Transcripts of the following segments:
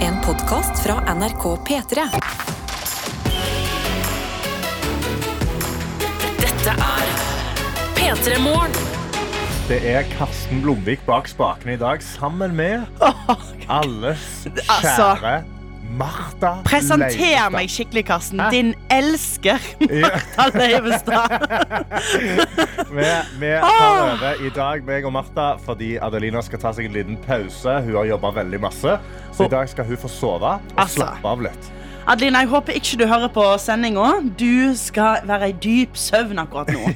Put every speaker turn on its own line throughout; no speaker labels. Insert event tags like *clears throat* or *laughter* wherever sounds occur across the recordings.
En podkast fra NRK P3.
Dette er P3 Morgen.
Det er Karsten Blomvik bak spakene i dag, sammen med alles
Altså.
kjære Martha
Presenter
Leivestad.
meg skikkelig, Karsten. Din elsker *laughs* Martha Leivestad.
Vi, vi tar over i dag, meg og Martha, fordi Adelina skal ta seg en liten pause. Hun har jobba veldig masse, så i dag skal hun få sove og
Altså.
slappe av litt.
Adelina, jeg håper ikke du hører på sendinga. Du skal være i dyp søvn akkurat
*laughs*
nå.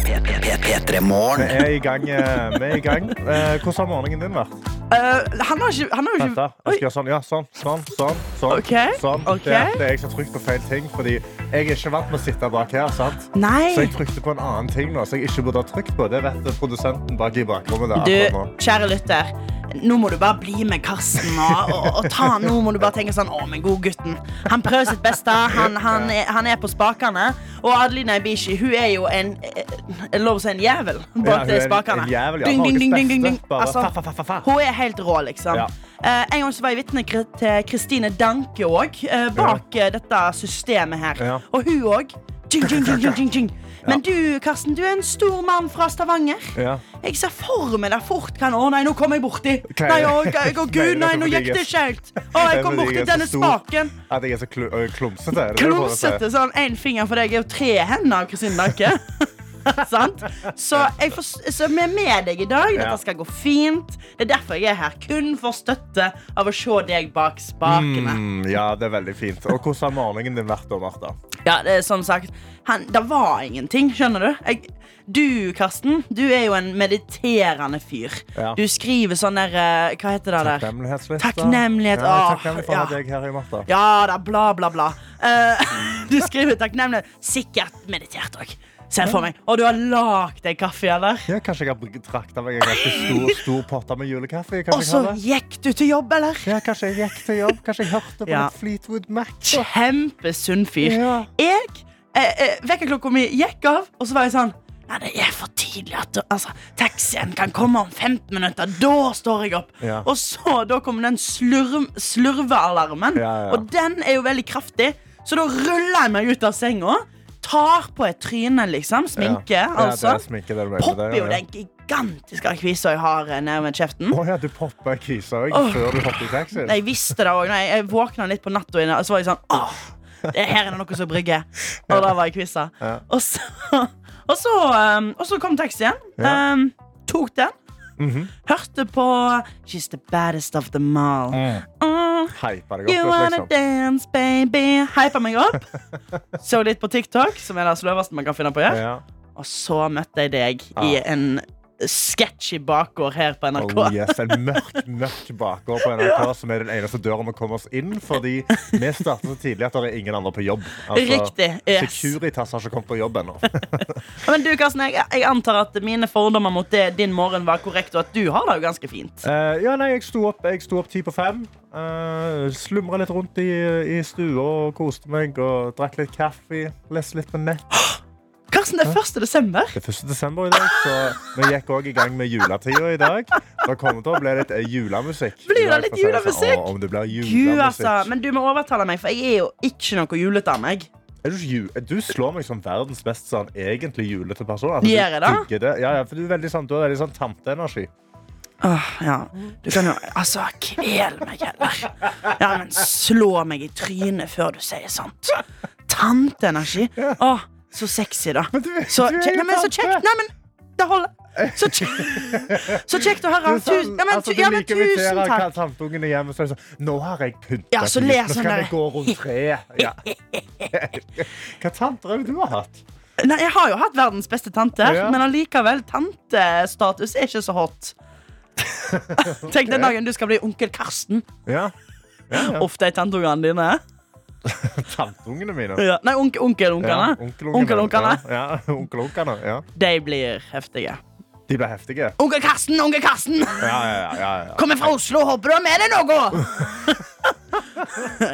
Vi er i gang. eh, Vi er i gang. Eh, Hvordan har morgenen din vært?
Eh, han har ikke Han har jo
Vent, da.
ikke
Jeg
Oi.
skal gjøre sånn. Ja, sånn, sånn, sånn. sånn,
Ok,
sånn.
ok.
Der. Det er jeg som trykker på feil ting, fordi jeg er ikke vant med å sitte bak her. sant? Så
Nei.
jeg trykte på en annen ting nå, som jeg ikke burde ha trykt på. Det vet produsenten bak i bakrommet.
Du,
Der, akkurat nå.
kjære lytter. Nå må du bare bli med Karsten. Og, og, og ta han. Nå må du bare tenke sånn Å, men god gutten. Han prøver sitt beste. Han, han, er, han er på spakene. Og Adelina Ibishi, hun er jo en eh, Jeg lover å si en jævel bak
Ja, hun er
de
en-
spakene.
en jævel, ja.
Ding, ding, ding, ding,
Norges
ding, ding.
beste. Bare
Altså,
fa, fa, fa, fa, fa.
Hun er helt rå, liksom.
Ja.
Eh, en gang så var jeg vitne kri- til Kristine Danke òg, eh, bak eh, dette systemet her.
Ja.
Og hun òg. Tjing, tjing, tjing, tjing, tjing, tjing. Men du, Karsten, du er en stor mann fra Stavanger.
Ja.
Jeg ser for meg der fort kan Å nei, nå kom jeg borti.
Hva er
Nei,
det?
å, g- å gud, nei,
Nei, det er
nå
fordi
gikk
jeg-
det skjelt. Å, jeg kom
fordi
borti
jeg er så
denne
stor
spaken.
At jeg er så klu øh, klumsete. er det det du prøver å si?
Klumsete sånn én finger, for jeg er jo tre hender av Kristine Danke. *laughs* Sant? Så, jeg får, så vi er med deg i dag.
Ja.
Dette skal gå fint. Det er derfor jeg er her. Kun for støtte av å se deg bak spakene.
Mm, ja, det er veldig fint. Og hvordan har morgenen din vært da, Martha?
Ja, det er som sagt han, Det var ingenting, skjønner du? Jeg, du, Karsten, du er jo en mediterende fyr.
Ja.
Du skriver sånn der eh, Hva heter det der?
Takknemlighetsliste.
Takknemlighet,
Ja, jeg er
åh,
takknemlig for å ha
ja.
deg her i Martha.
Ja da, bla, bla, bla. Eh, *laughs* du skriver takknemlig. Sikkert meditert òg. Ser jeg for meg. Og du har lagd deg kaffe, eller?
Ja, kanskje jeg har trakta meg en ganske stor, stor potte med julekaffe? Kan
Og
jeg
så
ha det?
gikk du til jobb, eller?
Ja, kanskje jeg gikk til jobb? Kanskje jeg hørte på
Ja.
litt Fleetwood Mac?
Kjempesunn fyr.
Ja.
Jeg eh, eh, Vekkerklokka mi gikk av, og så var jeg sånn Nei, det er for tidlig. at du, altså, Taxien kan komme om 15 minutter. Da står jeg opp.
Ja.
Og så da kom den slurv, slurvealarmen,
Ja, ja.
og den er jo veldig kraftig. Så da ruller jeg meg ut av senga, tar på et tryne, liksom. Sminke,
Ja. Ja, det
altså.
er sminke, det er det,
Popper
ja,
jo
ja.
den gigantiske kvisa jeg har eh, nede ved kjeften.
Å ja, du poppa kvisa òg
Åh.
før du hoppet i taxien?
Jeg visste det òg. Jeg våkna litt på natta, og så var jeg sånn Åh, det her er det noe som brygger. Og da var jeg kvissa.
Ja.
Og, så, og, så, um, og så kom taxien.
Ja. Mhm.
Um, tok den. Hørte på She's the baddest of them all. Mm.
Hypa deg
You
opp litt,
wanna
liksom.
dance, baby. Hypa meg opp. Så litt på TikTok, som er det sløveste man kan finne på å gjøre.
Ja.
Og så møtte jeg deg i
Ja.
en sketchy bakgård her på NRK.
Oh, yes. En mørk mørk bakgård på NRK som er den eneste døra vi kommer oss inn. Fordi vi starter så tidlig at det er ingen andre på jobb.
Riktig, yes.
Securitas har ikke kommet på jobb ennå. *laughs*
Ja, Men du, Karsten, jeg, jeg antar at mine fordommer mot det, din morgen var korrekt, og at du har det jo ganske fint.
Eh, ja, nei, jeg sto opp, jeg sto opp ti på fem. Uh, Slumra litt rundt i, i stua og koste meg. Og drakk litt kaffe. Leste litt på nett.
Karsten, det er 1. desember.
Det er 1. desember i dag, så vi gikk også i gang med juletida i dag. Det kommer til å bli litt eh, julemusikk.
Blir det
I dag,
litt
for å si sånn.
julemusikk?
Å, om det blir
Gud,
julemusikk.
altså. Men du må overtale meg, for jeg er jo ikke noe julete av meg.
Er du, ikke ju- du slår meg som verdens mest sånn, egentlig julete person. Altså,
Gjør jeg det?
du digger det. Ja, ja, for du er veldig sånn, du har veldig sånn tanteenergi.
Åh, ja. Du kan jo Altså, kvel meg heller. Ja, men slå meg i trynet før du sier sant. Tanteenergi. Åh, så sexy, da.
Men du-
Så,
du er
kje- nei,
jo
men, så
tante.
kjekt. Nei, men det holder. Så,
*laughs*
kje- så kjekt å høre.
Du er
Tusen,
sånn-
ja, men,
altså,
tu,
du
ja, men
liker å invitere
tusen takk.
hva tanteungene hjemme, så er det sånn, nå har jeg pyntet
Ja, så
litt.
les
Nå skal
han
vi
der.
gå rundt treet. Ja. *laughs* Hva tanter er det du har hatt?
Nei, Jeg har jo hatt verdens beste tante,
Ja.
men allikevel, tantestatus er ikke så
*laughs*
hot. Tenk den dagen du skal bli onkel Karsten.
Ja, *laughs*
Uff, de tanteungene dine.
tanteungene mine.
Ja. Nei, onkel, onkelungene.
onkelungene.
Onkelungene.
Ja, ja, *laughs* onkelungene, ja.
De blir heftige.
De ble heftige.
Onkel Karsten, onkel Karsten!
Ja, ja, ja, ja, ja.
Kommer fra Oslo, håper du har med deg noe!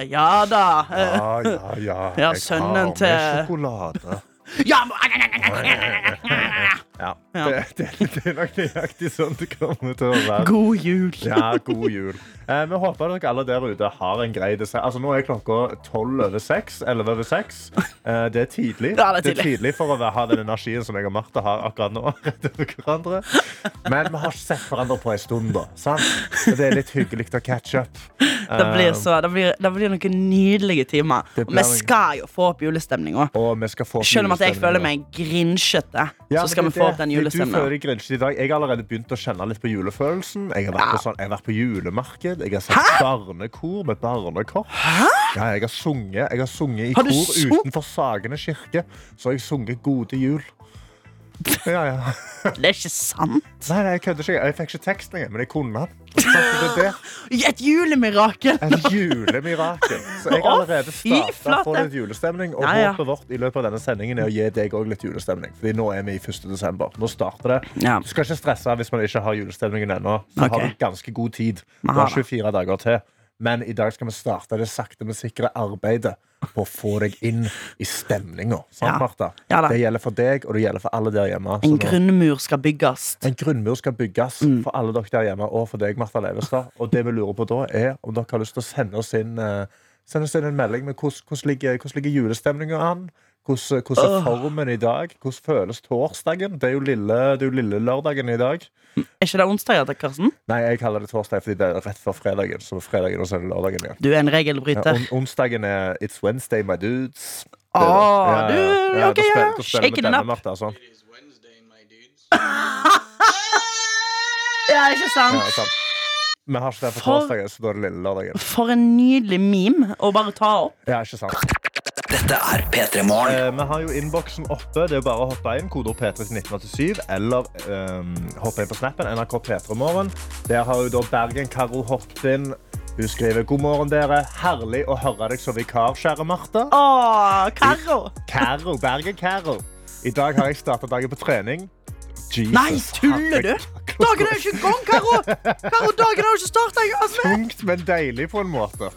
*laughs*
ja da. eh,
Ja, ja, ja.
*laughs* Ja,
Jeg
sønnen
har med
til-
sjokolade.
Ja, må-
Ja.
Ja.
Det, det, det er nok nøyaktig sånn det kommer til å være.
God jul.
Ja, god jul. Eh, vi håper dere alle der ute har en grei dessert. Altså, nå er klokka tolv over seks. Elleve over seks. Eh, det er tidlig.
Ja, det er tidlig.
for å være- ha den energien som jeg og Martha har akkurat nå. *laughs* rett over hverandre. Men vi har ikke sett hverandre på en stund, da. Sant? Så det er litt hyggelig å catch up.
Det blir, så, det, blir, det blir noen nydelige timer.
Eh. Det
Og
blir
vi
noe-
skal jo få opp julestemninga.
Og vi skal få
Selv om at jeg
julestemning
føler
nå.
meg grinsjete,
Ja,
så skal
men
vi få
det-
opp den
det- Du føler
julestemninga.
deg grinsjete i dag. Jeg har allerede begynt å kjenne litt på julefølelsen. Jeg har vært, på, sånn, jeg har vært på julemarked, jeg har sett barnekor med barnekor. Ja, jeg har sunget, jeg har sunget i
Har du
kor
sung-
utenfor Sagene kirke. Så har jeg sunget Gode jul. Ja,
*laughs*
ja.
Det er ikke sant.
Nei, nei, jeg kødder ikke. Jeg fikk ikke teksten engang, men jeg kunne den. Så det er det.
Et julemirakel!
Et julemirakel. Så jeg har allerede
Å, fy
starta på
flate.
litt julestemning. Og
Ja, ja.
håpet vårt i løpet av denne sendingen er å gi deg òg litt julestemning. Fordi nå er vi i 1. desember. Nå starter det.
Ja.
Du skal ikke stresse hvis man ikke har julestemningen ennå. Så
Ok.
har du ganske god tid. Du
Aha.
har 24 dager til. Men i dag skal vi starte det sakte, men sikre arbeidet på å få deg inn i stemninga.
Ja. Ja da.
det gjelder for deg, og det gjelder for alle der hjemme. Så
En
nå-
grunnmur skal bygges.
en grunnmur skal bygges
Mm.
for alle dere der hjemme og for deg, Martha Leivestad. Og det vi lurer på da, er om dere har lyst til å sende oss inn, eh, sende oss inn en melding med hvordan, hvordan, ligger, hvordan ligger julestemninga an? Hvordan, eh, hvordan er formen i dag? Hvordan føles torsdagen? Det er jo lille, det er jo lille lørdagen i dag.
Er ikke det onsdag, Jette Karsten?
Nei, jeg kaller det torsdag fordi det er rett før fredagen. Så fredagen og så er det lørdagen igjen.
Du er en
Ja,
regelbryter.
on onsdagen er It's Wednesday, my dudes.
Å,
Det er det. Ja,
du,
ja, ja.
ok,
Da
ja,
spiller-
ja.
da spiller vi
Shaken it
denne,
up.
Martha, sånn.
It is Wednesday, my dudes.
*laughs* Ja, ikke
Ja,
sant?
sant. Vi har ikke det på
For-
torsdagen, så da er det lille lørdagen.
For en nydelig meme å bare ta opp.
Ja, ikke sant. Eh, vi har jo innboksen oppe. Det er bare å hoppe inn. Kodeord P3 til 1987. Eller eh, hoppe inn på snappen NRK P3morgen. Der har jo da Bergen-Karo hoppet inn. Hun skriver god morgen, dere. Herlig å høre deg som vikar, kjære Martha.
Å, Karo!
Karo, Bergen-Karo. I dag har jeg starta dagen på trening. Jesus,
Nei, tuller du?
herregud.
Dagen er jo ikke i gang, Karo! Karo, dagen har jo ikke altså. starta
*laughs*
engang!
Tungt, men deilig på en måte.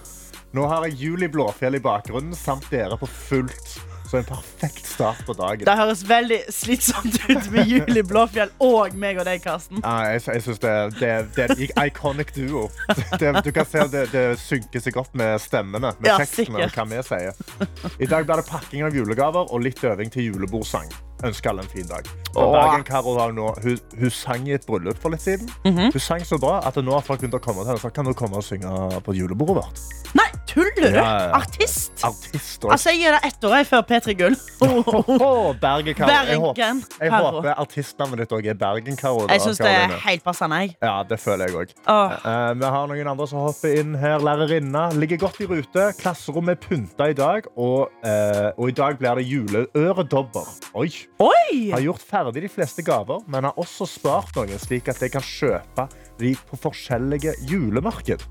Nå har jeg jul i Blåfjell i bakgrunnen, samt dere på fullt. Så en perfekt start på dagen.
Det høres veldig slitsomt ut med jul i Blåfjell og meg og deg, Karsten.
Ja, Ah, jeg, jeg synes det, er- det, er- det er en iconic duo. *laughs* Det, du kan se at det, det synker seg opp med stemmene. Med
Ja,
teksten og
sikkert.
hva vi sier. I dag blir det pakking av julegaver og litt øving til julebordsang. Ønsker alle en fin dag. Og
Åh.
Bergen Karo har nå, hun, hun sang i et bryllup for litt siden.
Mhm.
Hun sang så bra at nå har folk begynt å komme til henne og sagt kan du komme og synge på julebordet vårt.
Nei, tuller du?
Ja, ja, ja.
Artist?
Artist og
Altså, jeg gir deg ett år jeg, før P3
*laughs*
Gull.
Åh, Bergen Karo. Jeg,
Bergen
håper, jeg
Karo.
håper artistnavnet ditt òg er Bergen Karo. da,
Jeg syns det er
Karoline.
helt passende. jeg.
Ja, det føler jeg òg.
Åh.
Eh, vi har noen andre som hopper inn her. Lærerinna ligger godt i rute. Klasserommet er pynta i dag, og, eh, og i dag blir det juleøredobber. Oi!
Oi!
Har gjort ferdig de fleste gaver, men har også spart noen, slik at jeg kan kjøpe de på forskjellige julemarked.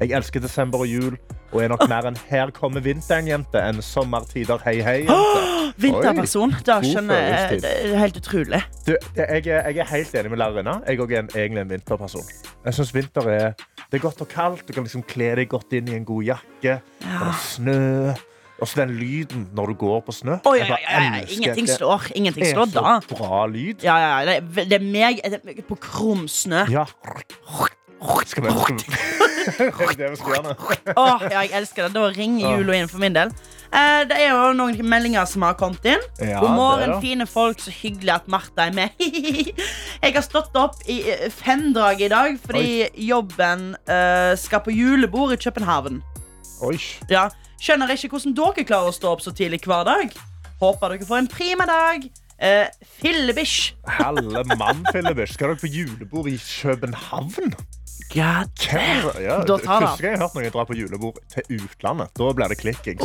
Jeg elsker desember og jul, og er nok mer en 'her kommer vinteren', jente, enn 'sommertider, hei, hei', jente.
Vinterperson. Da
God
skjønner jeg
følelsestid.
Det er helt utrolig.
Du, jeg, er, jeg er helt enig med lærerinna. Jeg også er en, egentlig en vinterperson. Jeg synes vinter er, det er godt og kaldt. Du kan liksom kle deg godt inn i en god jakke. Det er snø. Og så den lyden når du går på snø.
Oi, oi,
Jeg bare
oi, oi,
elsker
Ingenting
det.
slår. Ingenting
Det
slår
er
da.
så bra lyd.
Ja, ja, ja, det er ve- det er meg det er meg på krum snø.
Ja. Skal vi *laughs* Det er det vi skal gjøre nå.
Åh, ja, jeg elsker det. Da ringer jula inn for min del. Eh, det er jo noen meldinger som har kommet inn. God
Ja, det er
morgen,
det.
fine folk. Så hyggelig at Martha er med. *laughs* jeg har stått opp i eh, femdraget i dag fordi jobben eh, skal på julebord i København.
Oi.
Ja, skjønner ikke hvordan dere klarer å stå opp så tidlig hver dag. Håper dere får en prima dag. Eh, Fillebish.
Helle mann, Filibers. Skal dere på julebord i København?
God.
Hvem? Ja,
Da tar han.
første gang jeg har hørt noen dra på julebord til utlandet, da blir det klikking.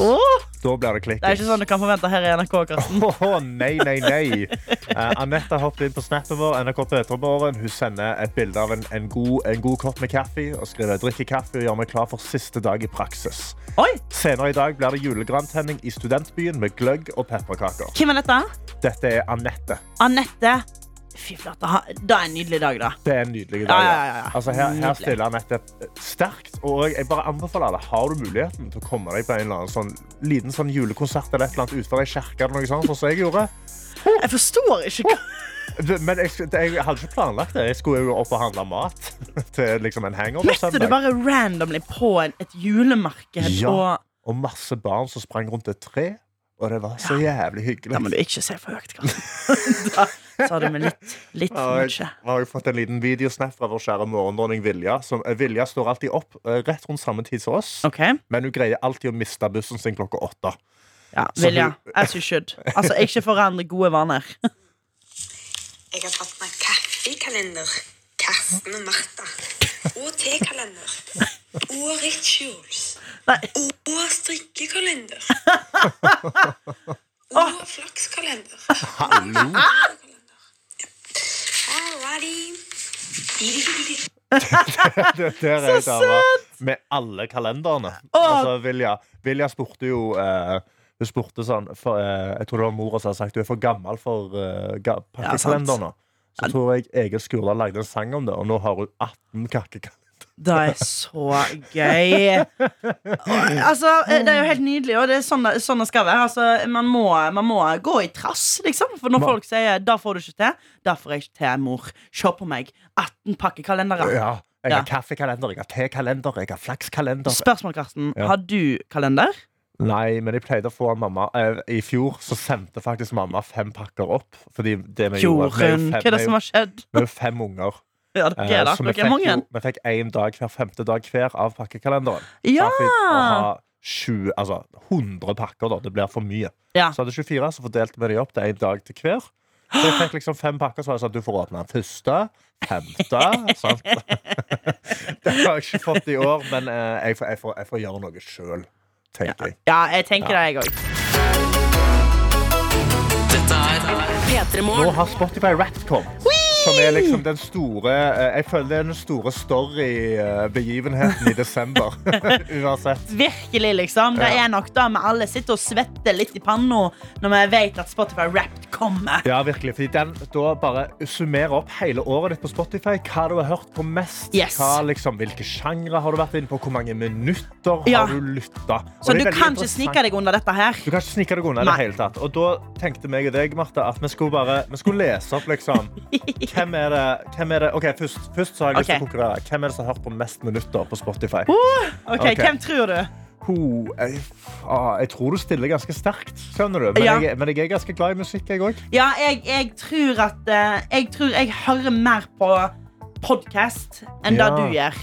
Da blir det
det er
klikkings.
ikke sånn du kan forvente her i NRK. Karsten.
Åh, nei, nei, nei. Eh, Anette har hoppet inn på snappen vår. NRK Peterborgen. Hun sender et bilde av en, en, god, en god kopp med kaffe og skriver drikke kaffe og gjør meg klar for siste dag i praksis.
Oi,
Senere i dag blir det julegrantenning i studentbyen med gløgg og pepperkaker.
Hvem er dette?
Dette er Anette.
Anette. Fy flate. ha- Det er en nydelig dag, da.
Det er en nydelig
Ja,
dag.
ja, ja, ja.
Altså, her, her
Nydelig.
stiller Anette sterkt. Og jeg bare anbefaler alle, har du muligheten til å komme deg på en eller annen sånn, liten sånn julekonsert eller et eller annet utenfor ei kirke eller noe sånt, sånn som jeg gjorde?
Jeg forstår ikke hva
Men jeg, sk- jeg hadde ikke planlagt det. Jeg skulle jo opp og handle mat *laughs* til liksom en hangover
Møtte du bare randomly på en, et julemarked
Ja.
og
Og masse barn som sprang rundt et tre. Og det var så jævlig hyggelig.
Da må du ikke se for
*laughs*
høyt, Karsten. Da sa du med litt, litt for
Og
mye.
jeg har jo fått en liten videosnap fra vår kjære morgendronning Vilja. Som, eh, Vilja står alltid opp eh, rett rundt samme tid som oss,
OK.
men hun greier alltid å miste bussen sin klokka åtte.
Ja,
Så
Vilja,
hun-
as you should. Altså, ikke forandre gode vaner.
*laughs*
Jeg har tatt meg kaffekalender. Karsten og Martha. Og tekalender. Og rituals.
Nei.
Og strikkekalender. Og flakskalender. Alrighty.
*laughs* Det- Der er så søtt! Med alle kalenderne. Altså, Vilja, Vilja spurte jo eh, Hun spurte sånn for, eh, Jeg tror det var mora som hadde sagt du er for gammel for uh,
Ja,
ga
sant.
pakkekalenderne. så tror jeg Egil Skurdal lagde en sang om det, og nå har hun 18 kakkekalendere.
Det er så gøy. Og, Altså, eh, Det er jo helt nydelig, og det er sånn det, sånn det skal være. Altså, man, må, man må gå i trass, liksom. For når
Ma-
folk sier 'da får du ikke til', da får jeg ikke til, mor. Se på meg. 18 pakkekalendere.
Ja. Jeg har
Ja.
kaffekalender, jeg har tekalender, jeg har flakskalender.
Spørsmål, Karsten.
Ja.
Har du kalender?
Nei, men jeg pleide å få av mamma eh, I fjor så sendte faktisk mamma fem pakker opp. Fordi det vi gjorde vi er jo
Jorunn,
fem-
hva er det som har skjedd?
Vi er jo fem unger.
Ja, dere
Eh,
er
så
der. Dere er
vi fikk, jo,
mange.
vi fikk én dag hver femte dag hver av pakkekalenderen.
Ja!
Da fikk vi å ha 20, altså 100 pakker, da. Det blir for mye.
Ja.
Så hadde 24, så fordelte vi de opp til én dag til hver. Så jeg fikk liksom fem pakker, så var det sånn at du får åpne den første, femte
*laughs*
sant? *laughs* Det har jeg ikke fått i år, men eh, jeg, får, jeg, får, jeg får gjøre noe sjøl, tenker jeg.
Ja, jeg tenker det, jeg òg.
Dette er P3
Nå
Morgen.
har Spotify Wrapped kommet. Som er liksom den store eh, Jeg føler det er den store story-begivenheten i desember. *laughs* Uansett.
Virkelig, liksom. Det
Ja.
er nok da vi alle sitter og svetter litt i panna når vi vet at Spotify Wrapped kommer.
Ja, virkelig. Fordi den da bare summerer opp hele året ditt på Spotify. Hva du har hørt på mest.
Yes.
Hva, liksom, hvilke sjangre har du vært inne på? Hvor mange minutter
Ja.
har du lytta?
Så du kan ikke snike deg under dette her.
Du kan ikke snike deg unna i det
Nei.
hele tatt. Og da tenkte meg og deg, Martha, at vi skulle, bare, vi skulle lese opp, liksom.
*laughs*
Hvem er det, hvem er det? OK, først, først så har jeg lyst til
Ok.
å konkurrere. Hvem er det som har hørt på mest minutter på Spotify?
Ok,
Ok.
Hvem tror du?
Ho, jeg, ah, jeg tror du stiller ganske sterkt, skjønner du. Men,
Ja.
jeg, men jeg er ganske glad i musikk, jeg òg.
Ja, jeg, jeg tror at eh, Jeg tror jeg hører mer på podkast enn
Ja.
det du gjør.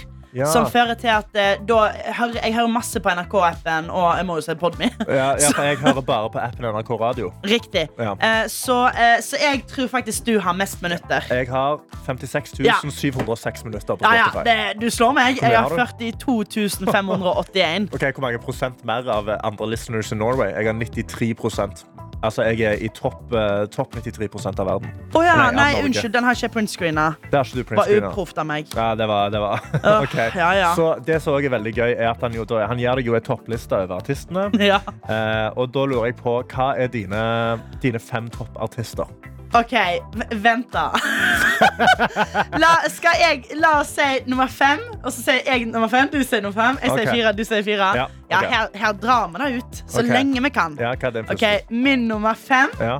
Som fører til at eh, da hører, Jeg hører masse på NRK-appen, og jeg må jo se Podme. *laughs*
Ja, ja, for *laughs* jeg hører bare på appen NRK Radio.
Riktig.
Ja.
Eh, så, eh, så jeg tror faktisk du har mest minutter.
Jeg har 56 706 minutter på
Ja, ja,
Spotify.
det, du slår meg.
Hvor mye
Jeg
har
har 42
*laughs*
581.
Ok, Hvor mange prosent mer av eh, andre listeners i Norway? Jeg har 93 Altså, jeg er i topp eh, topp 93 av verden.
Å ja,
Nei,
nei,
Norge.
unnskyld. Den har ikke jeg printscreena.
Det har ikke du, Prince
Var
Gina.
uproft av meg. *laughs*
Ja, det var, det var. *laughs* ok.
ja, ja.
Så det som også er veldig gøy, er at han, jo, da- han gir deg jo en toppliste over
*laughs*
artistene.
Ja.
Eh, og da lurer jeg på, hva er dine, dine fem toppartister?
OK, v- vent, da. *laughs* La, skal jeg La oss si nummer fem, og så sier jeg nummer fem. Du sier nummer fem, jeg sier
Ok.
fire, du sier fire.
Ja,
Ja,
ok.
her, her drar vi det ut så
Ok.
lenge vi kan.
Ja, hva er din
OK,
første?
Min nummer fem
Ja.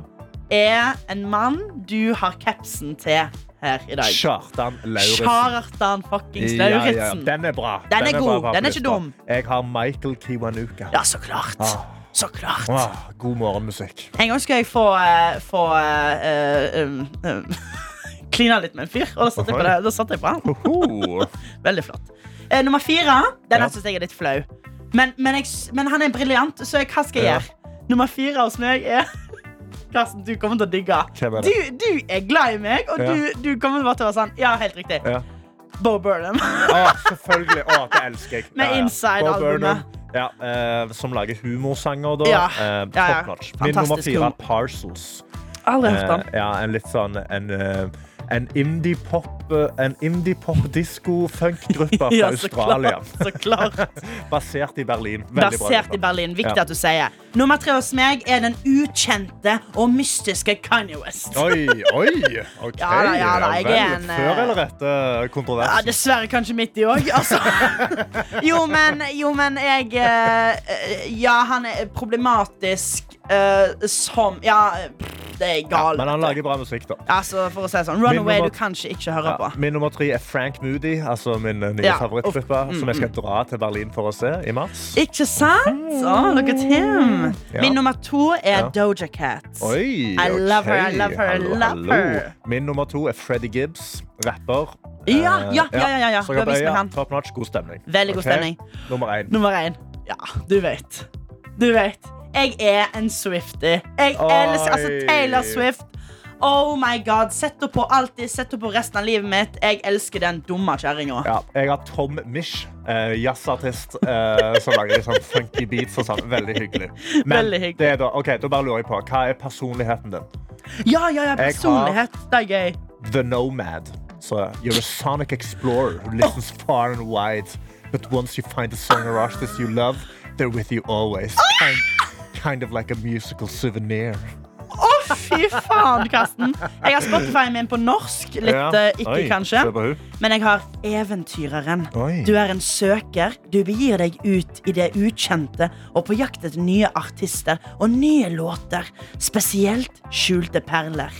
er en mann du har capsen til her i dag.
Kjartan Lauritzen.
Kjartan fuckings
Ja, ja, ja.
Lauritzen.
Den er bra.
Den er god.
bra på
Den er ikke
lista.
dum.
Jeg har Michael Kiwanuka.
Ja, så klart.
Ah.
Så klart.
Ah, god morgenmusikk.
En gang skal jeg få, eh, få eh, um, um, *laughs* Klina litt med en fyr, og da satte jeg på, det. Da satte jeg på han.
Hoho.
Veldig flott. Eh, nummer fire. Den
Ja.
her syns jeg er litt flau. Men, men, jeg, s- men han er briljant, så jeg, hva skal jeg
Ja.
gjøre? Nummer fire hos meg er *laughs* Karsten, du kommer til å digge.
Hvem er
Du,
det?
du er glad i meg, og
Ja.
du, du kommer bare til å være sånn. Ja, helt riktig.
*laughs* Ja.
Bo Burnham.
Ah, selvfølgelig. Ah, det elsker jeg.
Med
Ja, ja.
Inside-albumet.
Bob Burnham, Ja, eh, som lager humorsanger, da.
Ja.
Eh, top
Ja, ja.
notch. Min
Fantastisk
nummer fire
humor.
er Parcels.
*laughs* Aldri hørt
Eh,
han.
ja, en litt sånn en, eh, en indie-pop eh, En indie-pop-disko-funk-gruppe fra
*laughs* Ja, så
Australia.
klart, Så klart.
*laughs* Basert i Berlin. Veldig bra.
Basert
gruppe.
i Berlin. Viktig
Ja.
at du sier. Nummer tre hos meg er den ukjente og mystiske Kanye West.
Oi, oi! OK.
Ja da, ja da, jeg
vel.
er en, eh,
Før eller etter
Ja,
kontroversen?
dessverre kanskje midt i òg. Altså.
*laughs*
Jo, men, jo, men jeg eh, Ja, han er problematisk eh, som Ja, pff, det er
Ja,
gal.
men han lager bra musikk, da.
Altså, for å si det sånn,
Min
Runaway
nummer-
du kan ikke ikke høre
Ja,
på.
min nummer tre er Frank Moody, altså min eh, nye
Ja, Mm.
favorittgruppe, som jeg skal dra til Berlin for å se i mars.
Ikke sant? Å, look at him.
Mm. Ja.
Min nummer to er
Ja.
Doja Cat.
Oi,
I love her, I
ok.
love her, I
Hallo,
love
hallo.
her.
Min nummer to er Freddie Gibbs, rapper.
Ja,
Eh,
ja, ja, ja, ja, ja.
Så
Du har vist meg
øya,
han.
Top notch, god stemning.
Veldig god
Ok,
stemning.
Nummer én.
Nummer én. Ja, du vet. Du vet. Jeg er en Swifty. Jeg
Oi.
elsker altså Taylor Swift. Oh my god. Sett henne på alltid. Sett henne på resten av livet mitt. Jeg elsker den dumme kjerringa.
Ja, jeg har Tom Mish, eh, jazzartist, eh, som lager litt sånn funky beats og sånn. Veldig hyggelig.
Veldig hyggelig.
det er da, ok, da bare lurer jeg på, hva er personligheten din?
Ja, ja, ja.
har-
Personlighet. Det er gøy.
The Nomad. Så you're a sonic explorer who listens far and wide. But once you find a song or artist you love, they're with you always. Kind, kind of like a musical souvenir.
Å, fy faen, Karsten. Jeg har Spotify-en min på norsk. Litt
Ja.
eh, ikke,
Oi,
kanskje.
se på hun.
Men jeg har Eventyreren.
Oi.
Du er en søker. Du begir deg ut i det ukjente og på jakt etter nye artister og nye låter. Spesielt skjulte perler.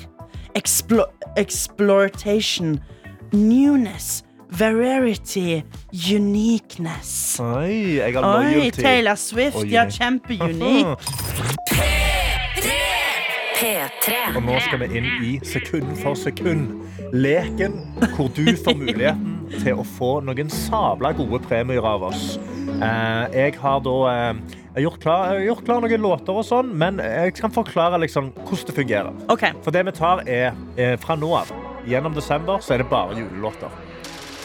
Explo exploitation. Newness. Variety. Uniqueness.
Oi, jeg har
Oi,
loyalty.
Taylor Swift.
Og
Ja,
unique.
kjempeunik.
*laughs* Og nå skal vi inn i sekund for sekund. Leken hvor du får muligheten til å få noen sabla gode premier av oss. Eh, jeg har da eh, jeg har gjort, klar, jeg har gjort klar noen låter og sånn, men jeg kan forklare liksom hvordan det fungerer.
OK.
For det vi tar er, eh, fra nå av, gjennom desember, så er det bare julelåter.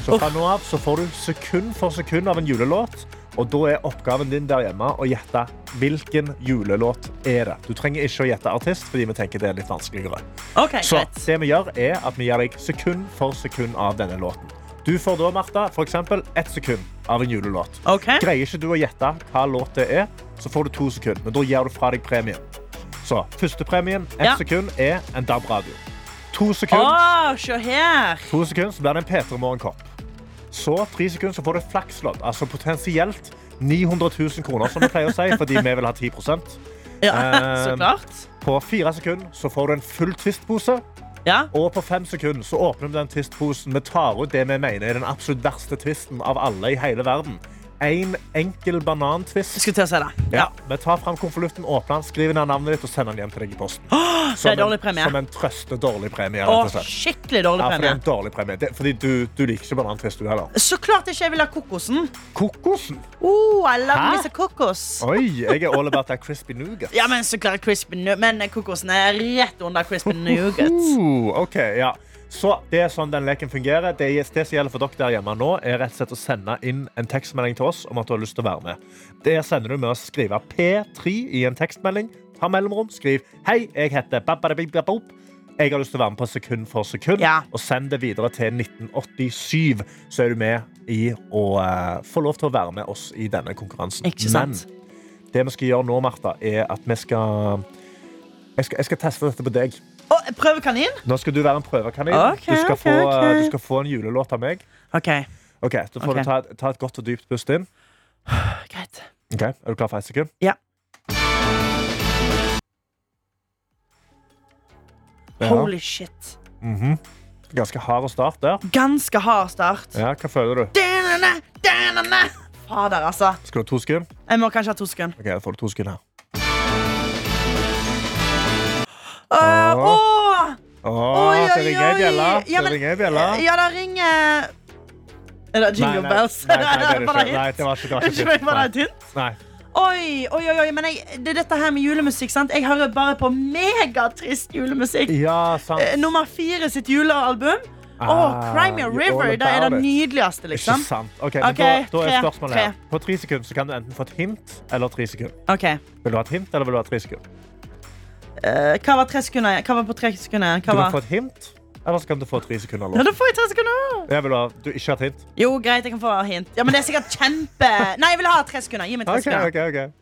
Så fra nå av så får du sekund for sekund av en julelåt, og da er oppgaven din der hjemme å gjette hvilken julelåt er det. Du trenger ikke å gjette artist, fordi vi tenker det er litt vanskeligere.
ok,
Så
greit.
det vi gjør er at vi gir deg sekund for sekund av denne låten. Du får da, Martha, for eksempel ett sekund av en julelåt.
OK.
Greier ikke du å gjette hva låt det er, så får du to sekunder. Men da gir du fra deg premien. Så førstepremien, ett
Ja.
sekund, er en DAB-radio. To
Å,
sekunder,
se her.
to sekunder, så blir det en P3 Morgenkopp. Så tre sekunder, så får du et flakslodd. Altså potensielt 900 000 kroner, som vi pleier å si, fordi vi vil ha 10
Ja, *laughs* så
Eh,
klart.
På fire sekunder så får du en full Twist-pose.
Ja.
Og på fem sekunder så åpner vi den Twist-posen. Vi tar ut det vi mener er den absolutt verste twisten av alle i hele verden. En enkel banan-twist.
Skulle til å si det.
Ja. Vi tar fram konvolutten, åpner den, skriver ned navnet ditt og sender den hjem til deg i posten.
*gasps* Det er
Som en-
dårlig premie.
Som en trøste dårlig premie.
Å,
rett og slett.
skikkelig dårlig
Ja, for
premie.
det er en dårlig premie. Det, fordi du, du liker ikke banantvist, du heller.
Så klart ikke jeg vil ha kokosen.
Kokosen!
Oh, I love
Hæ?
me some kokos.
Oi, jeg er all about that crispy nougat.
Ja, men så klart crispy nu Men kokosen er rett under
*laughs* Uhuh.
crispy nougat.
Uh, ok, ja. Så det er sånn den leken fungerer. Det, er- det som gjelder for dere der hjemme nå, er rett og slett å sende inn en tekstmelding til oss om at du har lyst til å være med. Det sender du med å skrive P3 i en tekstmelding. Ta mellomrom, skriv Hei, jeg heter babadabibabop. Jeg har lyst til å være med på sekund for sekund.
Ja.
Og send det videre til 1987, så er du med i å eh, få lov til å være med oss i denne konkurransen.
Ikke sant?
Men det vi skal gjøre nå, Martha, er at vi skal Jeg skal, jeg skal teste dette på deg.
Og prøvekanin?
Nå skal du være en prøvekanin.
Ok,
du, skal
ok,
få, eh,
ok.
du skal få en julelåt av meg.
OK,
Ok, Da får
Ok.
du ta, et- ta et godt og dypt pust inn.
greit.
Ok, Er du klar for ett sekund?
Ja.
Ja,
Holy shit.
Ganske hard å starte der.
Ganske hard start.
Ja, hva føler du?
Da-na-na, da-na-na. Fader, altså.
Skal du ha to sekunder?
Jeg må kanskje ha to sekunder.
Ok, da får du to sekunder her.
Åh,
Åh.
åh.
Åh,
Oi,
det
oi,
ringer ei
oi.
bjelle.
Ja,
Det
men-
ringer ei bjelle.
Ja, da ringer Er det
Nei,
Jingle
nei,
Bells?
Nei, nei,
*laughs*
det er det
Var det
ikke.
hit?
Nei, det var ikke, det var
Unnskyld meg, var det
ikke
et hint?
Nei.
Oi, oi, oi, oi, men jeg, det er dette her med julemusikk, sant? Jeg hører bare på megatrist julemusikk.
Ja, sant.
Eh, Nummer fire sitt julealbum. Åh,
Ah,
Cry Me a
you're
River.
all
Det er
about
det
it.
nydeligste,
Ikke
liksom.
sant. Ok, men
Ok,
da, da er
tre,
spørsmålet
tre.
her. På tre sekunder så kan du enten få et hint eller tre sekunder.
Ok,
Vil du ha et hint eller vil du ha tre sekunder?
eh, Hva var tre sekunder? Hva var på tre sekunder? Hva
Du kan få
var?
et hint, eller så kan du få tre sekunder. låt.
Ja, da får jeg tre sekunder.
Jeg vil ha, du ikke har et hint?
Jo, greit, jeg kan få hint. Ja, men det er sikkert kjempe... Nei, jeg vil ha tre sekunder. Gi meg tre
OK,
sekunder.
OK. ok.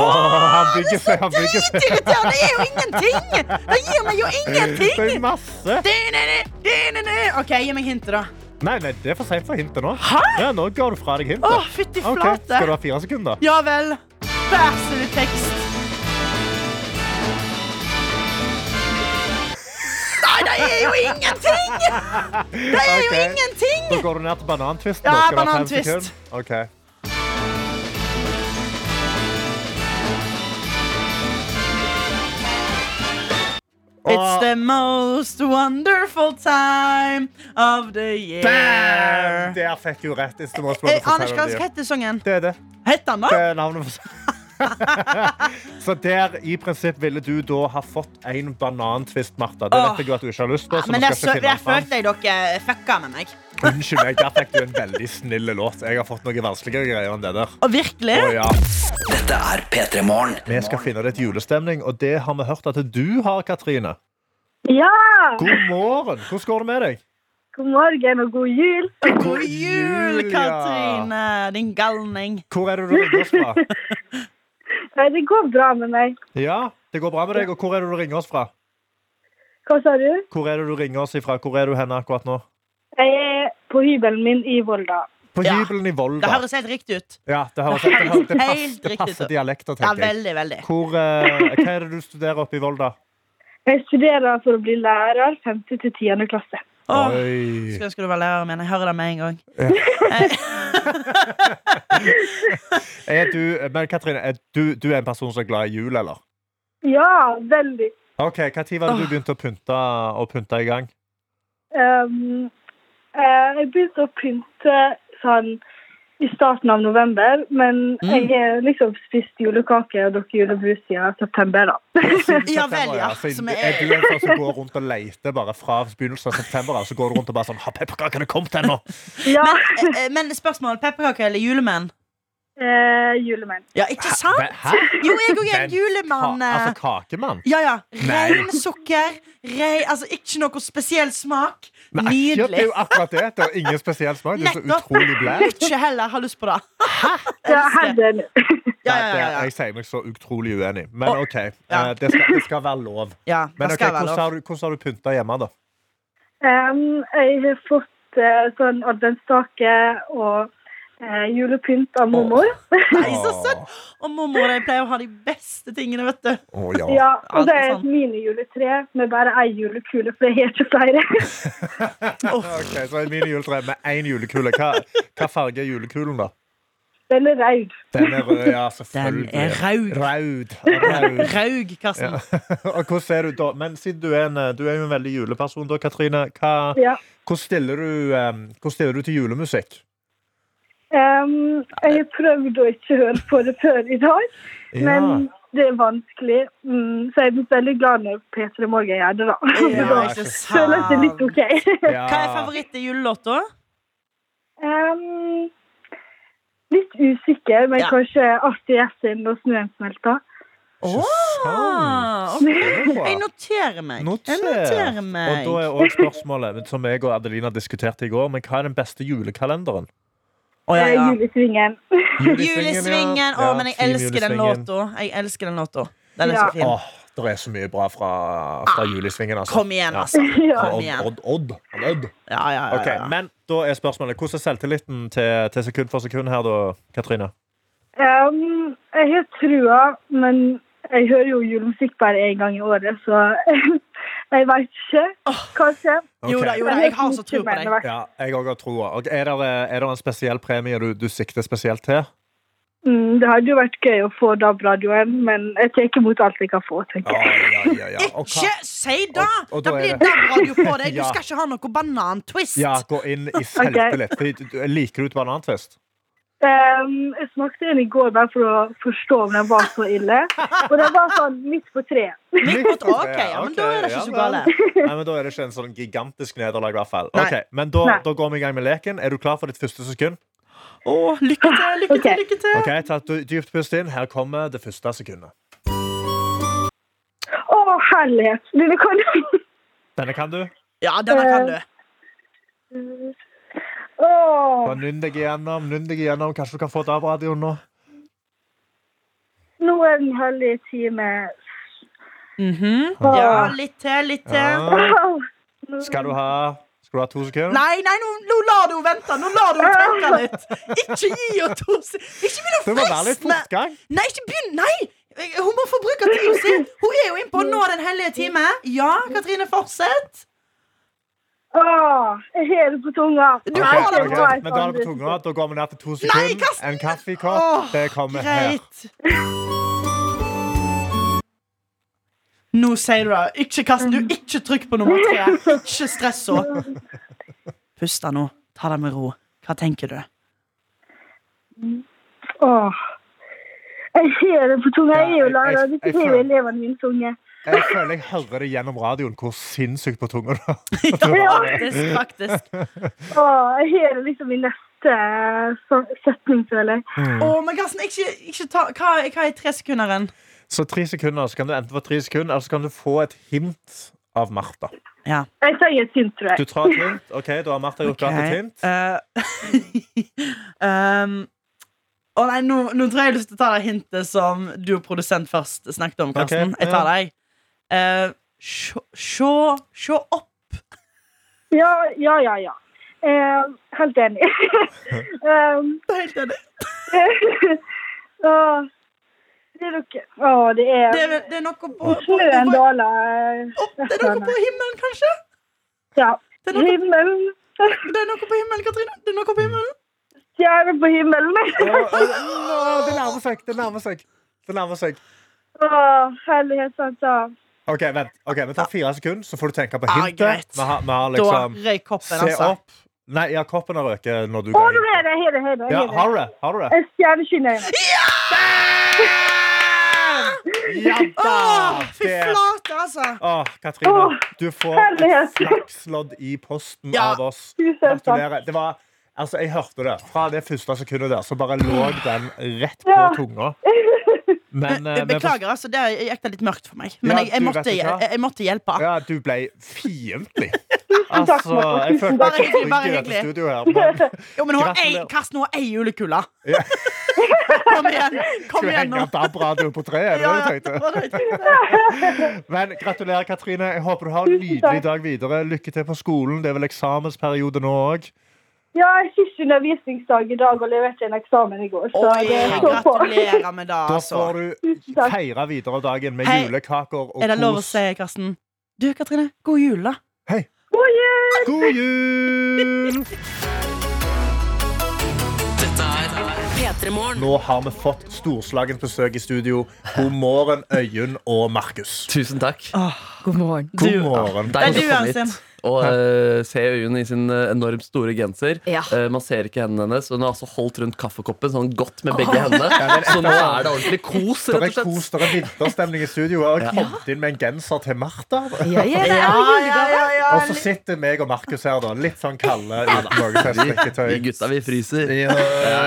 han bygger seg, han bygger seg.
Dritirriterende! Det er jo ingenting! Det gir meg jo
*laughs* Det er
ingenting!
masse.
Ok, gi meg hintet, da.
Nei, nei, det er for seint for hintet nå.
Hæ?
Ja, nå går du fra deg hintet.
Å, fytti
Ok,
flate!
Skal du ha fire sekunder?
Ja vel. Vær så snill, tekst. Nei, det er jo ingenting! Det er jo
Ok. Da
ingenting!
går du ned til banantvisten.
Ja,
da. Skal du ha fem
banantvist.
sekunder? Ok.
It's the most wonderful time of the year.
Bam! Der fikk du rett. It's the most
Jeg
wonderful
aner ikke
time
Eh, hva
of the
som
year.
heter sangen.
Det er det.
Heter den
Det
da?
er navnet for *laughs* Så der i prinsipp ville du da ha fått en banantvist, Martha. Det vet jeg jo at du ikke har lyst på.
Ja,
Så nå
men
skal
jeg,
jeg
sø-
ikke finne
jeg
den fram.
følte dere fucka med meg.
Unnskyld meg, der fikk du en veldig snill låt. Jeg har fått noe vanskeligere greier enn det der.
Og virkelig.
Å, ja.
Dette er P3 Morgen.
Vi skal finne litt julestemning, og det har vi hørt at du har, Katrine.
Ja!
God morgen! Hvordan går det med deg?
God morgen og god jul.
God jul,
Julia.
Katrine, din galning.
Hvor er det du ringer oss fra?
Nei, det går bra med meg.
Ja, det går bra med deg, og hvor er det du ringer oss fra?
Hva sa du?
Hvor er det du ringer oss ifra? Hvor er du henne akkurat nå?
Jeg er på hybelen min i Volda.
På
Ja.
hybelen i
Det
Volda.
høres helt riktig ut.
Ja, det høres det, høres, det, passer,
Helt
det
riktig ut.
passer dialekter,
Ja,
tenker jeg.
veldig, veldig.
Hvor, eh, hva er det du studerer oppe i Volda?
Jeg studerer for å bli lærer 5. til 10. klasse.
Åh,
Oi.
Skulle ønske du var lærer, men jeg hører det med en
*laughs*
gang.
Er du, men Katrine, er du, du er en person som er glad i jul, eller?
Ja, veldig.
Ok, Hva tid var det du begynte å pynte, å pynte i gang?
Um, eh, jeg begynte å pynte sånn i starten av november, men jeg har liksom spist julekake og drukket julebrus siden september, da. *laughs*
Ja vel, ja.
Så
Som
altså, er
er,
du en sånn som går rundt og leter bare fra begynnelsen av september? av, Så går du rundt og bare sånn Har pepperkakene kommet ennå?
Ja,
men, eh, men spørsmål. Pepperkaker eller julemenn?
eh, julemenn.
Ja, ikke sant?
Hæ?
Jo, jeg òg er
Men,
en julemann.
Ka,
eh.
altså kakemann?
Ja, ja.
Nei.
Rein sukker. Rei, altså, ikke noe spesiell smak.
Nei, ja, det er
Nydelig.
jo akkurat det. Det er ingen spesiell smak. Det er så
Nettopp.
utrolig blæst.
Ikke heller har lyst på det.
Ja,
Elsker.
helt enig.
Ja,
Nei,
ja,
det-
ja, ja.
Jeg sier meg så utrolig uenig. Men
Å,
OK, eh,
ja.
det, skal, det skal være lov.
ja
Men
det
ok,
skal være
hvordan
lov.
har du, hvordan har du pynta hjemme, da?
Um, jeg har fått eh, sånn adventstake og eh, julepynt av mormor. *laughs*
Nei, så søtt. Og mormor de pleier å ha de beste tingene, vet du.
Å, ja.
Ja, og det
alt
er
er
et
sånn.
minijuletre med bare ei julekule, for jeg har ikke flere. *laughs*
OK, så en minijuletre med én julekule. Hva, hva farge er julekulen, da?
Den er rød.
Den er rød, ja,
Den
selvfølgelig.
er raug.
Raud.
*laughs*
Raud.
Raug, Karsten.
*laughs* Og hvordan er du da? Men siden du er, en, eh, du er jo en veldig juleperson, da, Katrine. Hva,
Ja.
hvordan, stiller du, um, hvordan stiller du til julemusikk?
Um, jeg har prøvd å ikke høre på det før i dag, men det er vanskelig. Mm, så jeg blir veldig glad når P3 Morgen gjør det, da.
Ja,
ikke
så
*laughs* Så føles det litt OK.
*laughs* Ja.
Hva er favoritt i julelåta?
Um, litt usikker, men
Ja.
kanskje artig gjest inn og snøen smelter.
Så
Ah,
sant.
ok.
Det er bra.
Jeg noterer meg. Jeg
Noter.
noterer
Og
meg.
da er også spørsmålet som jeg og Adelina diskuterte i går, men hva er den beste julekalenderen?
Å, ja,
Eh,
ja.
Julesvingen. *laughs*
Julesvingen. Å,
ja.
men jeg
Team
elsker den
Julesvingen.
låta. Jeg elsker den låta. Den er
Ja.
så fin.
Åh, det er så mye bra fra, fra julesvingen, altså.
Ah, Kom igjen,
Ja.
altså.
Ja.
Kom
Odd,
igjen.
Odd, Odd, Han Odd.
Ja, ja, ja,
Ok,
ja.
men da er spørsmålet, hvordan er selvtilliten til, til sekund for sekund her da, Katrine?
Um, jeg har trua, men jeg hører jo julemusikk bare én gang i året, så *laughs* jeg veit ikke. Kanskje.
Jo da, jo da. Jeg har så tro på deg.
Ja, jeg òg har troa. Og Er det, er det en spesiell premie du, du sikter spesielt til?
Mm, det hadde jo vært gøy å få DAB-radioen, men jeg tar ikke imot alt jeg kan få. tenker jeg.
ja, ja, ja. Og hva-
Ikke si det!
Og- og da
Da
er
blir
det-
DAB-radio på deg. Du
*laughs* Ja.
skal ikke ha noe banantwist.
ja, gå inn
*laughs*
i selvtillit. Du- du- Liker du et banantvist?
Um, jeg smakte en i går bare for å forstå om den var så ille. Og den var sånn midt på treet.
Midt på tre, ok, ja, men da er det ikke så gale.
Nei, men Da er det ikke en sånn gigantisk nederlag, i hvert fall.
Nei.
Ok, men da,
Nei.
da går vi i gang med leken. Er du klar for ditt første sekund?
Å, lykke til, lykke
Ok.
til, lykke til.
Ok, Ta et dy- dypt pust inn. Her kommer det første sekundet.
Å, herlighet! Denne kan
Denne kan du.
Ja, denne kan du.
Å,
Bare Nynn deg igjennom. nynn deg igjennom. Kanskje du kan få DAB-radioen nå?
nå er den hellige time.
Mhm. Ja, litt til, litt til.
Ja. Skal du ha Skal du ha to sekunder?
Nei, nei, nå, nå lar du henne vente! Nå lar du henne tenke litt! Ikke gi henne to se- Ikke begynn å
Det må være litt
fristne!
fortgang.
Nei, ikke begynn! Nei! Hun må få bruke tida si! Hun er jo inne på å nå den hellige time. Ja, Katrine, fortsett.
Åh, jeg har det på tunga.
Du
Ok,
har det
ok,
på tunga.
men da har det på tunga. Da går vi ned til to
Nei,
sekunder.
Karsten!
En kaffekopp.
Åh,
Det kommer her.
Greit. Nå sier du det. Ikke kast den. Du, ikke trykk på nummer tre. Ikke stress henne. Pust da nå. Ta det med ro. Hva tenker du?
Åh. Jeg har det på tunga.
Ja,
Jeg er jo
jeg- jeg-
lærer.
jeg
Dette er jo
føler-
elevene mine tunge.
Jeg føler jeg hører det gjennom radioen hvor sinnssykt på tunga du har.
Ja, faktisk, faktisk.
Åh, jeg har det liksom i neste så- setning, føler jeg.
Å, men Karsten, ikke, ikke ta Hva, hva er tresekunneren?
Så tre sekunder, så kan du enten få tre sekunder, eller så kan du få et hint av Martha.
Ja.
Jeg sier et hint, tror
Du
jeg.
tar et hint. Ok, da har Martha gjort klart et hint.
Eh, *laughs* um, å nei, nå, nå tror jeg jeg har lyst til å ta det hintet som du og produsent først snakket om, Karsten.
Ok,
Jeg tar deg. Uh, Sjå Sjå opp.
Ja, ja, ja. ja. Eh,
*laughs*
helt enig. um,
Det er helt enig.
*laughs* åh, det er dere. Åh, det er
Det er, vel- det er noe på, på, på,
snøen
på,
daler. eh,
Det er noe på himmelen, kanskje?
Ja.
Det er noe,
Himmelen. *laughs*
det er noe på himmelen, Katrine. Det er noe på himmelen.
Stjerner på himmelen.
Å, å, å, Det nærmer seg. Det nærmer seg. Det nærmer seg.
Åh, herlighet, altså. sant, ja.
Ok, vent. Ok, Vi tar fire sekunder, så får du tenke på
Ja, Ah,
hintet.
greit.
Vi har, vi har
Da
liksom
røyk koppen,
Se
altså.
opp. Nei, ja, koppen har røket når du
Åh,
går
nå
inn.
er det, her er det, her er det.
Ja,
her er det.
har du det? Har du det?
Et stjerneskinn i øynene.
Ja
Åh, Ah, fy
da!
flate, altså.
Åh, Ah, Katrine,
Åh,
du får et
herlighet.
flakslodd i posten
Ja.
av oss.
Tusen takk.
Gratulerer. Det var Altså, jeg hørte det. Fra det første sekundet der, så bare lå den rett på
Ja. *laughs*
tunga. Men eh,
Jeg
vi får-
Beklager, altså. Det gikk det litt mørkt for meg.
Ja,
Men jeg, jeg,
du
måtte,
vet ikke hva.
jeg, jeg måtte hjelpe.
Ja, du ble fiendtlig.
*laughs* Tusen takk,
Altså,
Martha.
jeg
Tusen
følte meg
Bare hyggelig,
trygg
takk.
bare
i dette
hyggelig.
studioet her,
*laughs*
men
Jo, men hun har ei,
Gratulerer.
Karsten, hun har ei julekule.
Ja.
*laughs* Kom igjen. Kom
skulle
igjen
henge
nå.
DAB-radio på treet. er
*laughs*
det
Ja,
det du
ja,
tenkte?
det var det jeg tenkte.
*laughs* Men gratulerer, Katrine. Jeg håper du har en
Tusen
nydelig
takk.
dag videre. Lykke til på skolen. Det er vel eksamensperiode nå òg.
Ja, siste undervisningsdag i dag og leverte en eksamen i går. Så
Oi,
det står på.
gratulerer med det,
*laughs* Da
altså.
får du
Tusen takk.
feire videre dagen med
Hei,
julekaker og
Er det lov å
kos.
si, Karsten? Du, Katrine, god jul, da.
God jul!
God jul! Nå har vi fått storslagent besøk i studio. God morgen, Øyunn og Markus.
Tusen takk.
God morgen.
God morgen.
Det er
Deilig å
du,
komme
Øystein.
hit og eh, se øynene i sin eh, enormt store genser.
Ja.
Eh, man ser ikke hendene hennes. Hun har altså holdt rundt kaffekoppen sånn godt med begge
*laughs*
hendene. Så nå er det ordentlig kos,
Det
rett
er
og slett.
kos, det er vinterstemning i studio. Jeg har kommet inn med en genser til Martha.
Ja, ja, det er
Ja,
julegave.
ja, ja, ja.
Og så sitter meg og Markus her, da. Litt sånn kalde uten noe
Vi
teststrikketøy.
gutta, vi fryser.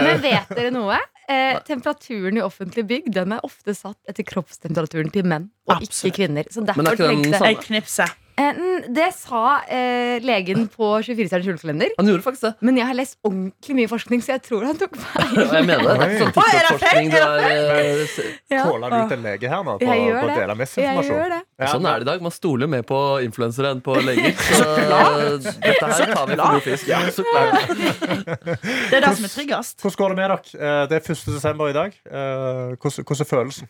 Men vet dere noe? Eh, temperaturen i offentlige bygg Den er ofte satt etter kroppstemperaturen til menn og
Absolutt.
ikke kvinner. Så
Men er
derfor
ikke den
trengs det
samme?
Sånn. Jeg knipser.
Eh, Det sa eh, legen på 24-stjerners julekalender.
Han gjorde faktisk det.
Men jeg har lest ordentlig mye forskning, så jeg tror han tok feil.
*laughs* Og jeg mener det. Det er ikke sånn
Oi. Å, er det
TikTok-forskning. Det er, eh,
Ja.
Kåler du ut en lege her nå på,
Jeg gjør
på å
det.
dele
Jeg gjør
messinformasjon?
det.
Ja.
Sånn er det i dag. Man stoler mer på influensere enn på leger. Så eh, dette her tar vi for god fisk. Ja, så klart.
Det er det som er tryggest.
Hvordan går det med dere? Eh, Det er 1. desember i dag. Eh, Hvordan, hvordan er følelsen?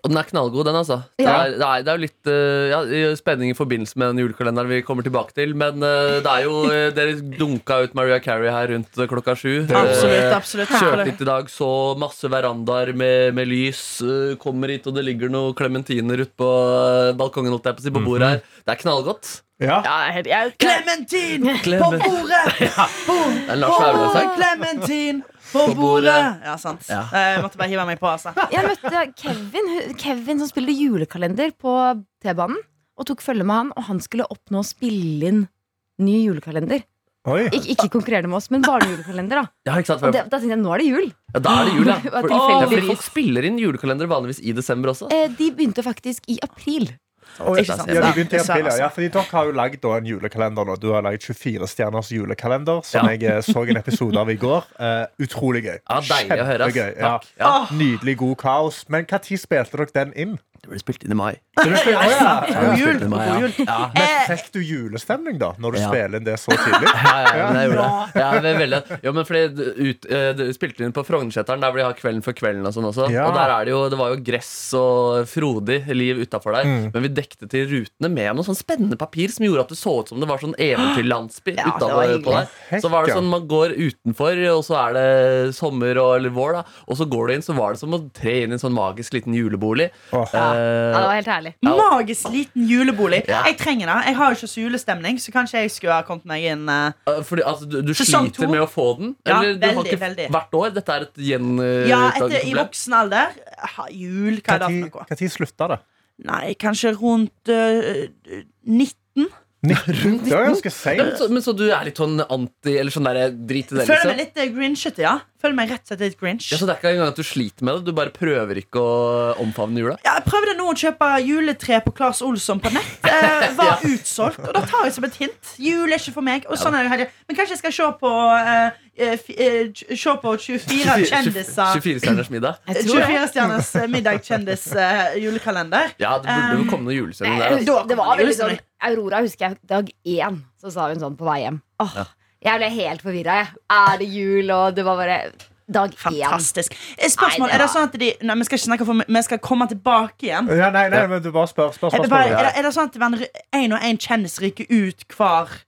Og den er knallgod, den, altså. Det
Ja.
er, det er, det er jo litt eh, ja, spenning i forbindelse med den julekalenderen vi kommer tilbake til. Men eh, det er jo eh, Dere dunka ut Maria Carrie her rundt eh, klokka sju.
Absolutt.
Eh,
absolutt
Kjørte hit i dag, så masse verandaer med, med lys. eh, Kommer hit, og det ligger noen klementiner ute på eh, balkongen. Holdt jeg på, å si, på bordet her. Det er knallgodt.
Ja.
Ja, jeg, jeg,
Clementin på
Clemen-
bordet! Boom,
Det er en Lars Vaular-sang.
Clementin på bordet! Ja, sant. Eh, Jeg måtte bare hive meg på, altså.
Jeg møtte Kevin, hu- Kevin som spilte julekalender på T-banen. Og tok følge med han, og han skulle opp nå og spille inn ny julekalender.
Oi.
Ik ikke konkurrerende med oss, men barnejulekalender. Da
ja, ikke sant?
Og
for-
det, da tenkte jeg, nå er det jul.
Ja, da er det jul, ja.
Det var
For, ja, fordi
tilfeldigvis.
folk spiller inn julekalender vanligvis i desember også.
Eh, de begynte faktisk i april.
Ikke sant?
Ja, de begynte i
Ja,
april, ja.
altså.
ja, fordi Dere har jo lagd da en julekalender. nå Du har lagd 24 stjerners julekalender, som
Ja.
jeg eh, så en episode av i går. Eh, utrolig gøy.
Ja, Deilig å høre. ass.
Kjempegøy, ja. Ah.
Takk.
*laughs*
Ja.
Nydelig god kaos. Men når spilte dere den inn?
Det ble spilt inn i mai.
God
Ja,
jul!
det var,
God
ja.
jul.
Ja.
Eh,
Fikk du julestemning da, når du
Ja.
spiller inn det så
*laughs*
tidlig?
Ja, ja, men jeg gjorde det. Ja, men veldig. Ja, men fordi det ut, eh, det spilte inn på Frognerseteren, der hvor de har Kvelden før kvelden og sånn også.
Ja.
Og der er det jo, det var jo gress og frodig liv utafor der. Men vi dekte til rutene med noe sånn spennende papir som gjorde at det så ut som det var sånn eventyrlandsby
Ja, det
utenfor
var
på
hyggelig.
der. Så var det sånn, man går utenfor, og så er det sommer og eller vår, da. Og så går du inn, så var det som å tre inn i en sånn magisk liten julebolig.
Åh.
Ja, det
Eh,
var helt herlig.
Magisk liten julebolig.
Ja.
Jeg trenger det. Jeg har jo ikke så julestemning, så kanskje jeg skulle ha kommet meg inn eh,
eh, fordi altså, du, du
Sesong
sliter
to.
med å få den?
Ja,
Eller du har
veldig,
ikke
veldig.
hvert år? Dette er et gjen... eh,
Ja, etter, i
problem.
voksen alder. Ha, jul, hva er det for noe?
Når slutta det?
Nei, kanskje rundt eh, 19.
Det var ganske
Ja, men,
*laughs*
seint.
så, men så du er litt sånn anti Eller sånn der, drit i
Føler
det
meg
liksom
litt eh, grinchete, ja. Føler meg rett og slett litt grinch.
ja, Så det er ikke engang at du sliter med det Du bare prøver ikke å omfavne jula
Ja, jeg prøvde nå å kjøpe juletre på Claes Olsson på nett. Eh,
*laughs*
var utsolgt. Og da tar jeg som et hint. Jul er ikke for meg. Og sånn er det jo hele- Men kanskje jeg skal se på eh, eh, fi- eh, tj- Se på
*laughs*
24 kjendiser
24-stjerners middag
Jeg tror det.
24 stjerners middag kjendis eh, julekalender.
Ja, det burde jo
Eh,
komme noen
Men
julesending der altså.
jeg husker, Eh, det var veldig
Julestemning.
sånn Aurora husker jeg dag én, så sa hun sånn på vei hjem. Åh, Jeg ble helt forvirra, jeg. Er det jul, og det var bare Dag én.
Fantastisk. Eh, Spørsmål,
Nei, det
er det
var-
sånn at de Nei, vi skal ikke snakke for mye. Vi skal komme tilbake igjen.
Ja, nei, nei, men du bare spør. spør,
Er
spør,
det, bare, er
spør.
det, er det sånn at én og én kjendis ryker ut hver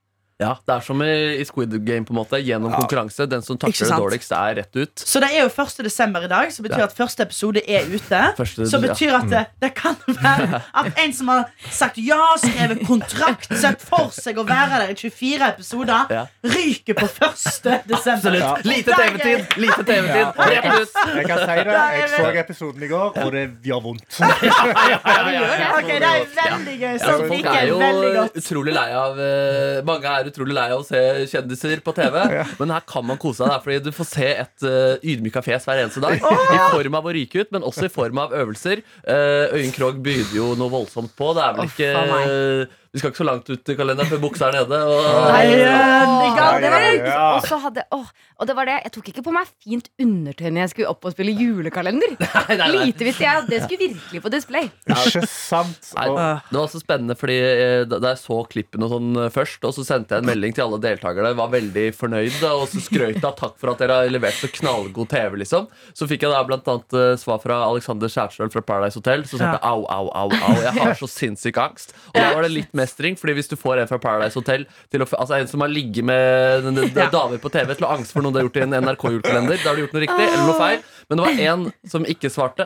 Ja, det er som i, i Squid Game på en måte Gjennom konkurranse Den som
Ikke
takler det
sant?
dårligst er rett ut
Så det er jo 1. desember i dag, som betyr
Ja.
at første episode er ute.
Første-
som
ja. Mm.
betyr at det, det kan være at en som har sagt ja, skrevet kontrakt, sett for seg å være der i 24 episoder,
Ja.
ryker på 1. desember.
Absolutt Lite
Der er-
TV-tid Lite TV-tid Rett ut
Jeg kan si det. Jeg så episoden i går, og det gjør vondt.
Ja, ja, ja, ja.
Ok, det er veldig gøy.
Ja,
Sånn
folk
liker
er
jeg
jo
veldig godt.
utrolig lei av eh, Mange er utrolig lei av å se kjendiser på TV, men her kan man kose seg. der, Fordi du får se et uh, ydmyka fjes hver eneste dag. I form av å ryke ut, men også i form av øvelser. Eh, Øyunn Krogh begynner jo noe voldsomt på. Det er vel
Uff,
ikke
a meg.
eh, Vi skal ikke så langt ut i kalenderen før buksa er nede. Og,
Nei,
Nei,
åh,
ja,
det var det.
ja.
Og så hadde åh, Og det var det. Jeg tok ikke på meg fint undertøy når jeg skulle opp og spille julekalender.
Nei, nei, nei.
Lite visste jeg at det skulle virkelig på display.
Ikke sant?
Nei,
Og,
det var også spennende, fordi eh, da da jeg så klippene og sånn eh, først, og så sendte jeg en melding til alle deltakerne, var veldig fornøyd, da, og så skrøt av takk for at dere har levert så knallgod TV, liksom. Så fikk jeg da blant annet eh, svar fra Alexander Kjærstøl fra Paradise Hotel, som sa au, au, au, au, jeg har så sinnssyk angst. Og da var det litt mestring, fordi hvis du får en fra Paradise Hotel, til å, f- altså en som har ligget med en- en- damer på TV til å ha angst for noe de har gjort i en NRK-julekalender, da har du gjort noe riktig, eller noe feil, men det var en som ikke svarte.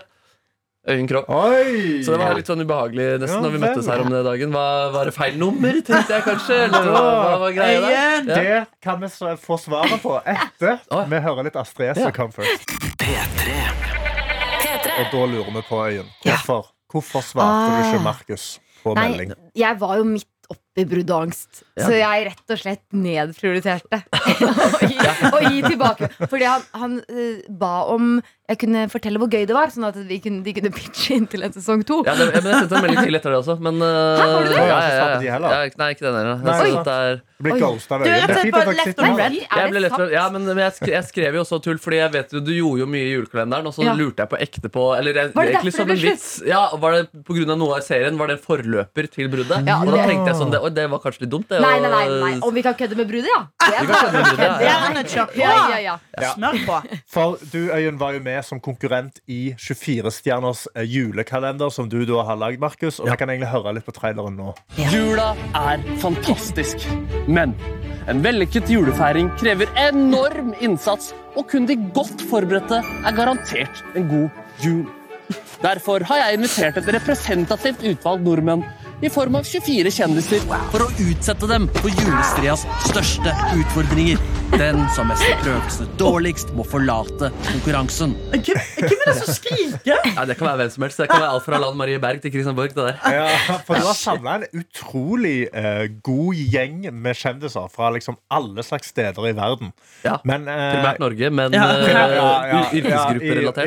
Øyunn Kropp.
oi!
Så det var litt sånn ubehagelig nesten
Ja,
når vi møttes
vel.
her om den dagen. Var, var det feil nummer, tenkte jeg kanskje? Eller hva, hva var greia der?
Øyen.
Det kan vi s- få svaret på etter
Å.
vi hører litt Astrid S.
Ja.
som kom først.
P3.
Og da lurer vi på Øyen. Hvorfor, hvorfor svarte du ikke
Ah.
Markus på
Nei,
melding?
jeg var jo midt oppi brudd og angst, så jeg rett og slett nedprioriterte *laughs* å gi, å gi tilbake. Fordi han, han eh, ba om jeg kunne fortelle hvor gøy det var, sånn at vi kunne, de kunne pitche inn til en sesong to.
Ja, det, ja, men jeg sendte en melding til etter det også. Men eh,
Hæ, var det det?
ja,
Jeg har ikke
ja,
svart på de
ja,
heller.
ja, Nei, ikke den
Nei,
heller. Jeg
sant.
synes det er-
Du blir ghosta av
Du er rett
Øyen.
og
Det er
slett
fint at
bare
dere
left
sitter
on
med
red.
Jeg
Er
ble
det
lett
sant?
for, ja, men, men jeg, sk jeg skrev jo også tull, Fordi jeg vet jo, du gjorde jo mye i julekalenderen, og så
Ja.
lurte jeg på ekte på Eller jeg,
Var det
egentlig
derfor
som
det
en
ble
vits. Ja, var det på grunn av noe av serien? Var det en forløper til bruddet?
Ja,
og da
det-
tenkte jeg sånn, det, oi, det var kanskje litt dumt, det.
Nei,
å-
nei, nei, nei. Om vi kan kødde med bruddet, ja. Det
Vi kan skjønne bruddet, ja,
Det
ja.
er han kjør på.
Ja, ja, ja.
Smør på.
For du, Øyen, var jo med som konkurrent i 24-stjerners eh, julekalender, som du da har lagd, Markus. Og vi kan egentlig høre litt på traileren nå.
Jula er fantastisk, men en vellykket julefeiring krever enorm innsats, og kun de godt forberedte er garantert en god jul. Derfor har jeg invitert et representativt utvalg nordmenn i form av 24 kjendiser for å utsette dem for juleskrias største utfordringer. Den som er sprøkeste dårligst, må forlate konkurransen.
Hvem hvem er det som skriker?
Nei, det kan være hvem som helst. Det kan være alt fra Lan Marie Berg til Christian Borch. Det der.
Ja, for du har samla en utrolig eh, god gjeng med kjendiser fra liksom alle slags steder i verden.
Ja.
Men eh,
Primært Norge, men
Ja.
eh,
ja, ja, ja,
yrkesgrupperelatert.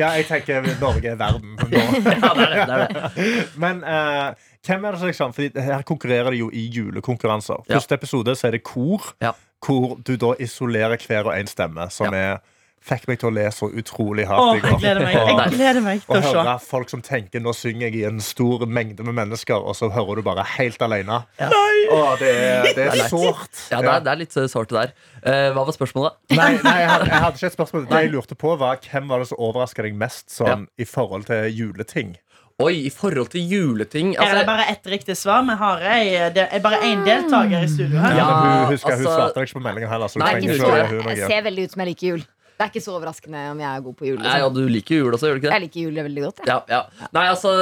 Ja, i-
Ja,
ja, jeg tenker Norge er
*laughs*
verden nå.
det er det, det er det.
Men eh, hvem er det som liksom Fordi her konkurrerer de jo i julekonkurranser.
Ja.
Første episode så er det kor,
Ja.
hvor du da isolerer hver og en stemme, som er fikk meg til å le så utrolig
Å,
hardt i
jeg
går.
gleder meg Jeg gleder meg til
Å
å se.
høre folk som tenker nå synger jeg i en stor mengde med mennesker, og så hører du bare helt alene. Å, det er, det er sårt.
Ja, det er, det er litt eh, sårt det der. Eh, hva var spørsmålet?
Nei, nei jeg, hadde, jeg hadde ikke et spørsmål. Det jeg lurte på, var hvem var det som overraska deg mest sånn, i forhold til juleting?
Oi, i forhold til juleting
Her er det
altså,
bare ett riktig svar. Vi har ei- det er bare én deltaker i studio her.
Ja, men hun, husker, hun
altså-
svarte deg ikke på meldinga heller. Så du
Nei,
trenger
ikke
ikke å
så-
gjøre hun
Jeg
noe.
ser veldig ut som jeg liker jul. Det er ikke så overraskende om jeg er god på jul.
Nei, ja,
Liksom.
Du liker jo jul også, gjør du ikke det?
Jeg liker jul veldig godt. Jeg.
Ja, ja. Nei, altså,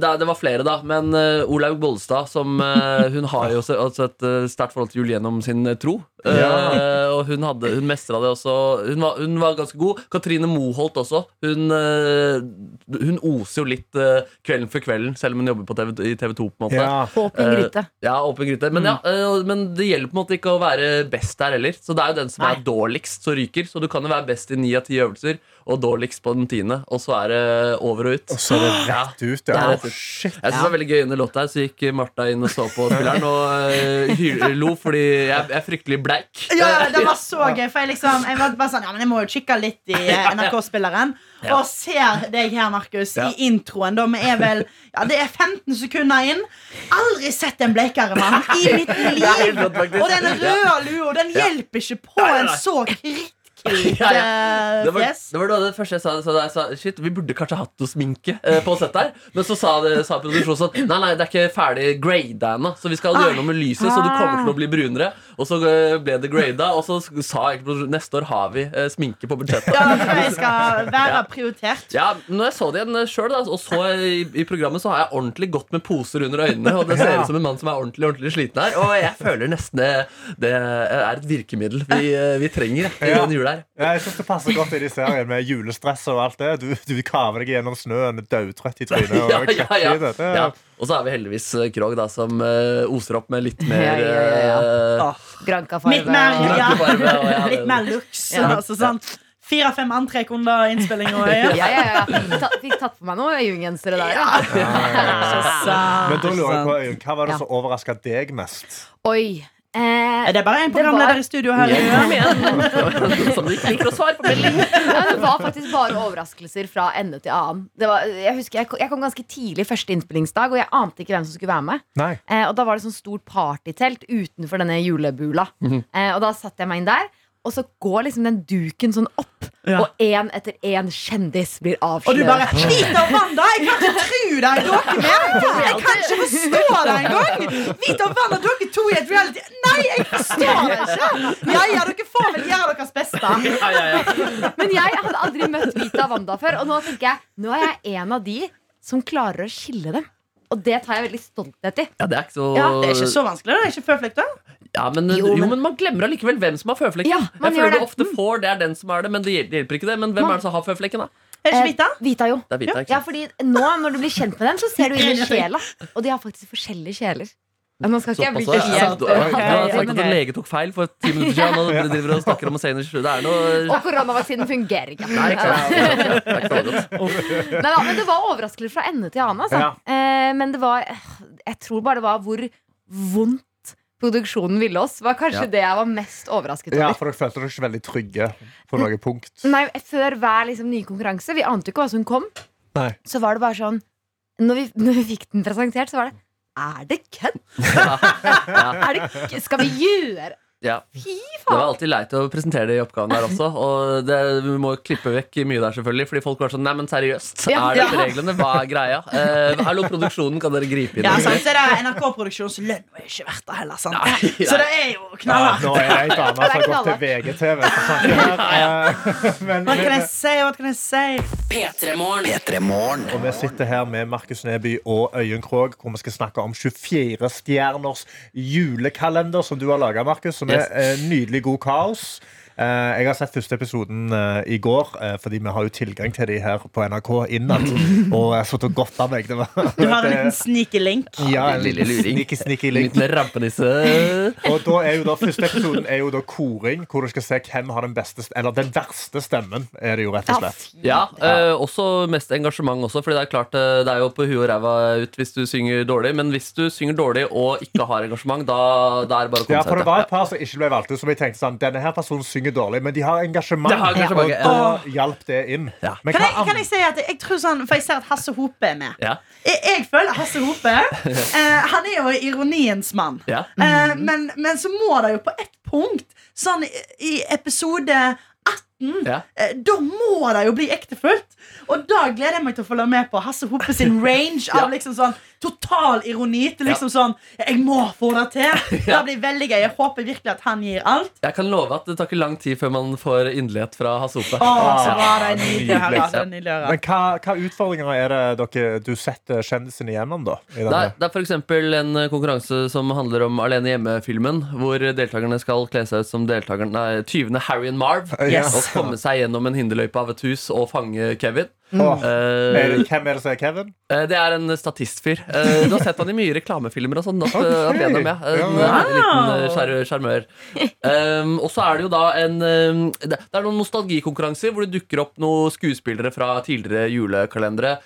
det, det var flere, da. Men eh, Olaug Bollestad, som eh, Hun har jo også, også et eh, sterkt forhold til jul gjennom sin eh, tro. Eh, og hun, hadde- hun mestra det også. Hun var, hun var ganske god. Katrine Moholt også. Hun, eh, hun oser jo litt eh, kvelden for kvelden, selv om hun jobber på TV, i TV 2. på en måte
Ja,
Åpen
Eh,
gryte.
Ja, åpen gryte. Men, ja, eh, men det gjelder på en måte ikke å være best der heller. Så det er jo den som
Nei.
er dårligst som ryker. Så du kan jo være best i ni av ti øvelser og dårligst på den tiende, og så er det over og ut.
og så er det rett ut. Ja.
Det er rett
Å,
ut.
shit.
Jeg synes det var veldig gøy under låta her, så gikk Martha inn og så på spilleren og eh, hyl- lo fordi jeg, jeg er fryktelig bleik.
Ja, ja, det var så gøy, for jeg liksom Jeg var bare sånn, ja, men jeg må jo kikke litt i eh, NRK-spilleren. Og ser deg her, Markus,
Ja.
i introen. Da vi er vel Ja, det er 15 sekunder inn. Aldri sett en blekere mann i mitt liv!
helt rått, faktisk.
Og den røde lua, den
Ja.
hjelper ikke på
nei,
en
nei.
så kritthvit
*laughs* Ja, ja.
eh,
Det var,
fjes.
det var da det første jeg sa, så da jeg sa Shit, vi burde kanskje hatt noe sminke eh, på sett her. Men så sa, det, sa produksjonen sånn Nei, nei, det er ikke ferdig grada ennå, så vi
Ah.
skal gjøre noe med lyset, så du kommer til å bli brunere. Og så eh, ble det grada, og så sa jeg neste år har vi eh, sminke på budsjettet.
Ja, det tror jeg skal være prioritert.
Ja, når jeg så det igjen sjøl, og så i, i programmet, så har jeg ordentlig gått med poser under øynene. Og det ser ut som en mann som er ordentlig ordentlig sliten her. Og jeg føler nesten det, det er et virkemiddel vi, eh, vi trenger etter
Ja.
den jula her.
Ja, Jeg syns det passer godt inn i serien med julestress og alt det. Du, du kaver deg gjennom snøen, daudtrøtt i trynet. Og
*laughs* Ja, ja,
kvekker
ja.
i det. Det er-
ja. Og så er vi heldigvis eh, Krog, da, som eh, oser opp med litt mer
Ja, ja, ja,
eh,
Granca
Litt mer,
farve.
ja.
Granke farve, og ja, det-
Litt mer looks.
Ja.
Altså, sånn fire-fem antrekk under innspillinga. Ja.
Ja,
*laughs*
ja, ja.
*laughs*
Ta, fikk tatt på meg noen øyegensere der. Ja.
Men da lurer jeg på,
Ah, sant.
Øyunn, hva var det
Ja.
som overraska deg mest?
*laughs* Oi. Eh,
Er det bare en
Det var-
programleder i studio her?
Ja,
Ja.
kom *laughs* igjen! Som du ikke liker å svare på melding.
Ja, det var faktisk bare overraskelser fra ende til annen. Det var, jeg husker jeg kom, jeg kom ganske tidlig første innspillingsdag, og jeg ante ikke hvem som skulle være med.
Nei.
Eh, og da var det sånn stort partytelt utenfor denne julebula.
Mhm.
eh, og da satte jeg meg inn der. Og så går liksom den duken sånn opp,
Ja.
og én etter én kjendis blir
Og du bare
avslørt.
Vita og Wanda, jeg kan ikke tro deg, dere mer! Jeg kan ikke
*laughs*
forstå det engang! Vita og Wanda, dere to i et reality Nei, jeg forstår det ikke! Ja, ja, dere får vel gjøre deres beste.
Ja, ja, ja.
Men jeg hadde aldri møtt Vita Wanda før, og nå tenker jeg nå er jeg en av de som klarer å skille dem. Og det tar jeg veldig stolthet i.
ja, det er ikke så
Ja,
Det er ikke så vanskelig. Det er ikke føflekk, da.
Ja, men, jo,
Jo, men-
men man glemmer allikevel hvem som har føflekken.
Ja, man
jeg føler
gjør det. Mm.
du ofte får det er den som er det, men det hjel- det hjelper ikke det. Men hvem
Man-
er det som har føflekken, da?
Er det ikke Vita?
Eh, Vita, jo.
Det er Vita, ikke
Ja,
sant?
fordi nå når du blir kjent med dem, så ser du inn i sjela. Og de har faktisk forskjellige sjeler. Ja, nå skal ikke jeg bli
Såpass, ja.
helt
Du har du har sagt at en
kombinert.
lege tok feil for ti minutter siden. og Nå driver du og snakker om Hussein i sju. Det er noe
eh, Og koronavaksinen fungerer ikke.
Nei, ikke sant. Det er ikke så godt.
Nei, da, men det var overraskelser fra ende til annen. Altså. Eh, men det var eh, Jeg tror bare det var hvor vondt produksjonen ville oss. Var kanskje
Ja.
det jeg var mest overrasket over.
Ja, for dere følte dere ikke veldig trygge på noe punkt.
Nei, Før hver liksom, nye konkurranse, vi ante jo ikke hva som kom,
Nei.
så var det bare sånn Når vi, når vi fikk den presentert, så var det Er det kødd? Er det kødd? Skal vi gjøre
Ja.
Fy
Det var
faen!
alltid leit å presentere de oppgavene der også. Og det, vi må jo klippe vekk mye der, selvfølgelig. Fordi folk var sånn Nei, men seriøst,
Ja.
er dette reglene? Hva er greia? Eh, hallo, produksjonen, kan dere gripe inn?
Ja, sant, så er det NRK-produksjons lønn er ikke verdt det heller, sant?
Nei, *laughs* nei.
Så det er jo
Ja,
knallhardt.
Ah, nå er jeg ei dame som har gått til
knallhardt.
VGTV. så snakker jeg her. Eh, Men,
Hva kan
men,
jeg si? Hva kan jeg si?
P3 Morgen.
og vi sitter her med Markus Neby og Øyunn Krogh, hvor vi skal snakke om 24 stjerners julekalender som du har laga, Markus. Som er
Yes.
eh, nydelig god kaos. Eh, Jeg har sett første episoden eh, i går, eh, fordi vi har jo tilgang til de her på NRK innad. Og jeg har sittet og godt av meg. Det var, eh,
Du har en liten sneaky link.
ja, en liten
Lille luring.
sneaky, sneaky
En
link.
liten rampenisse.
Og da er jo da, første episoden er jo da koring, hvor du skal se hvem har den beste st- Eller den verste stemmen, er det jo rett og
Ja,
slett.
fy.
Ja, eh, også mest engasjement også, fordi det er klart eh, det er jo på huet og ræva ut hvis du synger dårlig. Men hvis du synger dårlig og ikke har engasjement, da, da er det bare å komme
Ja, for
seg
det
ut. ja.
var et par som ikke ble valgt ut, som jeg tenkte sånn Denne her personen synger synger dårlig, men de har engasjement.
Det har engasjement,
Og
ja.
da hjalp det inn. Men
Kan jeg,
hva
kan jeg si at jeg tror sånn, For jeg ser at Hasse Hope er med.
Ja.
Jeg, jeg føler Hasse Hope eh, Han er jo ironiens mann.
Ja.
Eh, men, men så må det jo på ett punkt, sånn i, i episode 18
Ja.
eh, Da må det jo bli ektefullt! Og da gleder jeg meg til å følge med på Hasse Hope sin range av liksom sånn total ironi til liksom sånn Jeg må få det til! Det blir veldig gøy. Jeg håper virkelig at han gir alt.
Jeg kan love at det tar ikke lang tid før man får inderlighet fra Hasse Hope.
Å, så bra, det er nydelig å høre.
Nydelig.
Det er nydelig å høre.
Men hva, hva utfordringer er det dere, du setter kjendisen igjennom, da? I denne?
Det er, det er for eksempel en eh, konkurranse som handler om Alene hjemme-filmen, hvor deltakerne skal kle seg ut som deltakerne, nei, tyvene Harry og Marv
Yes.
og komme seg gjennom en hinderløype av et hus og fange Kevin.
Åh,
Eh,
er det- hvem er det som er Kevin?
eh, det er en statistfyr. Eh, du har sett han i mye reklamefilmer og sånn. At, eh, at Benham, ja. En
Ja.
eh, liten eh, skjar- sjarmør. Um, og så er det jo da en um, Det det er noen nostalgikonkurranser hvor det dukker opp noen skuespillere fra tidligere julekalendere.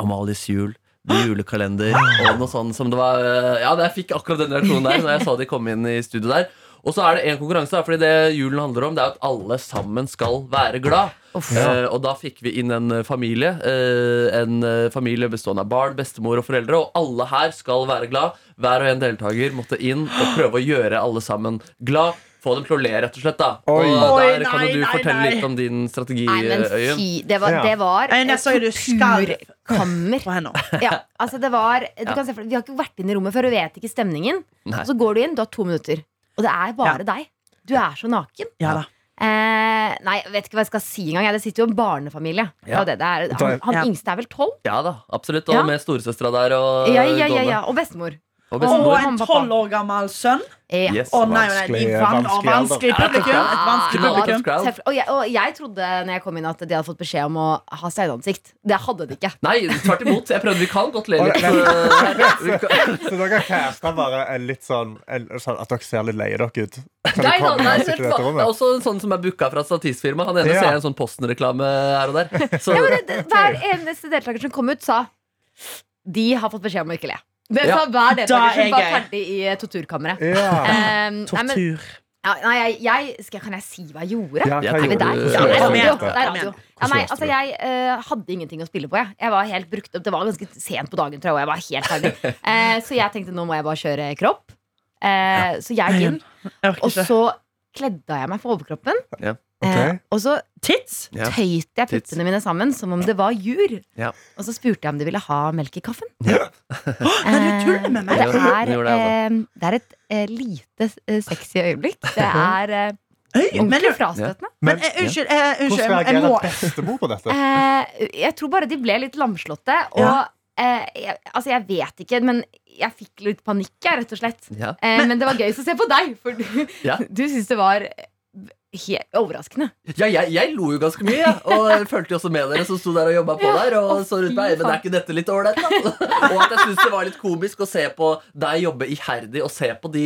Amalies jul, The julekalender
Ah.
og noe sånt som det var uh, Ja, jeg fikk akkurat den reaksjonen der Når jeg så de kom inn i studio der. Og så er det en konkurranse, da, fordi det julen handler om, det er at alle sammen skal være glad. Uh, og da fikk vi inn en uh, familie. Uh, en uh, familie bestående av barn, bestemor og foreldre. Og alle her skal være glad. Hver og en deltaker måtte inn og prøve å gjøre alle sammen glad. Få dem til å le, rett og slett. da Og
Oi.
der
Oi,
kan
nei,
jo du
nei,
fortelle
nei.
litt om din strategi,
Nei, men
Øyunn.
fy. Det var,
Ja.
det var
Nei, jeg
et
så jo du skalv.
torturkammer.
på henne.
Ja, altså det var du
Ja.
kan se, for, Vi har ikke vært inn i rommet før, og vi vet ikke stemningen.
Nei.
Og så går du inn, du har to minutter. Og det er bare
Ja.
deg. Du er så naken.
Ja da.
Eh, nei, jeg vet ikke hva jeg skal si engang. jeg. Det sitter jo en barnefamilie. Det er jo det det er. Han, han
Ja.
yngste er vel tolv?
Ja da, absolutt. Og
Ja.
med storesøstera der og
Ja, ja, ja,
gående.
ja. Og bestemor.
Og
Og
bestemor.
en
mamma, pappa.
tolv år gammel sønn.
Ja.
Yes,
Å nei, nei, nei,
vanskelig-
van- å,
vanskelig
vanskelig publikum. Et vanskelig
Knall.
publikum.
Crowd.
Selvfølgelig. Og, jeg, og jeg trodde når jeg kom inn at de hadde fått beskjed om å ha steinansikt. Det hadde de ikke.
Nei, tvert imot. Jeg prøvde. Vi kan godt le litt.
Oi,
øh, her. Vi kan-
Så dere casta bare en litt sånn, en, sånn At dere ser litt leie dere ut? Kan
Nei,
du
da,
komme
nei,
og
det
sitte i
er
dette rommet?
også en sånn som er booka fra statistfirma. Han ene
Ja.
ser en sånn Posten-reklame her og der. Så,
Ja, men det, det- hver eneste deltaker som kom ut, sa de har fått beskjed om å ikke le. Det
Ja.
sa hver
Da er
deltaker som var
jeg.
ferdig i eh, torturkammeret.
Ja.
Um, nei, men,
Tortur.
ja, nei, jeg, jeg, skal, kan jeg si hva jeg gjorde?
Ja, hva
Jeg tenker
Men
gjorde
det er,
du-
du?
ja, det er
Kom igjen,
radio. Det er
kom
radio.
igjen.
Ja, nei,
Hvordan løste
altså,
du det?
jeg eh, hadde ingenting å spille på. Jeg. jeg var helt brukt opp. Det var ganske sent på dagen, tror jeg. Og jeg var helt ferdig. Eh, så jeg tenkte nå må jeg bare kjøre kropp. Eh, Så jeg gikk inn,
Jeg orker
og
ikke.
så kledde jeg meg for overkroppen.
Ja.
Eh,
Ok.
og så
Tits?
Ja.
tøyte jeg
Tits.
puppene mine sammen som om det var jur.
Ja.
Og så spurte jeg om de ville ha melk i kaffen. Eh,
Nei, du tuller med meg.
Det
Ja,
er,
det gjorde jeg
eh, det er et eh, lite eh, sexy øyeblikk. Det er eh,
Øy, *laughs* Men,
ordentlig frastøtende.
men eh, unnskyld, eh, unnskyld jeg,
Hvordan
jeg må
reagerer bestemor på dette?
Eh, jeg tror bare de ble litt lamslåtte. Og
Ja.
eh, jeg, altså, jeg vet ikke, men jeg fikk litt panikk, jeg, rett og slett.
ja.
Eh, men det var gøy å se på deg, for du,
Ja.
*laughs* du syns det var eh, helt overraskende.
ja, jeg, jeg lo jo ganske mye, jeg. og jeg følte jo også med dere som sto der og jobba på
Ja,
der. Og
å,
så rundt
fy
meg, men er
faen.
ikke dette litt ålreit, da? Og at jeg syns det var litt komisk å se på deg jobbe iherdig, og se på de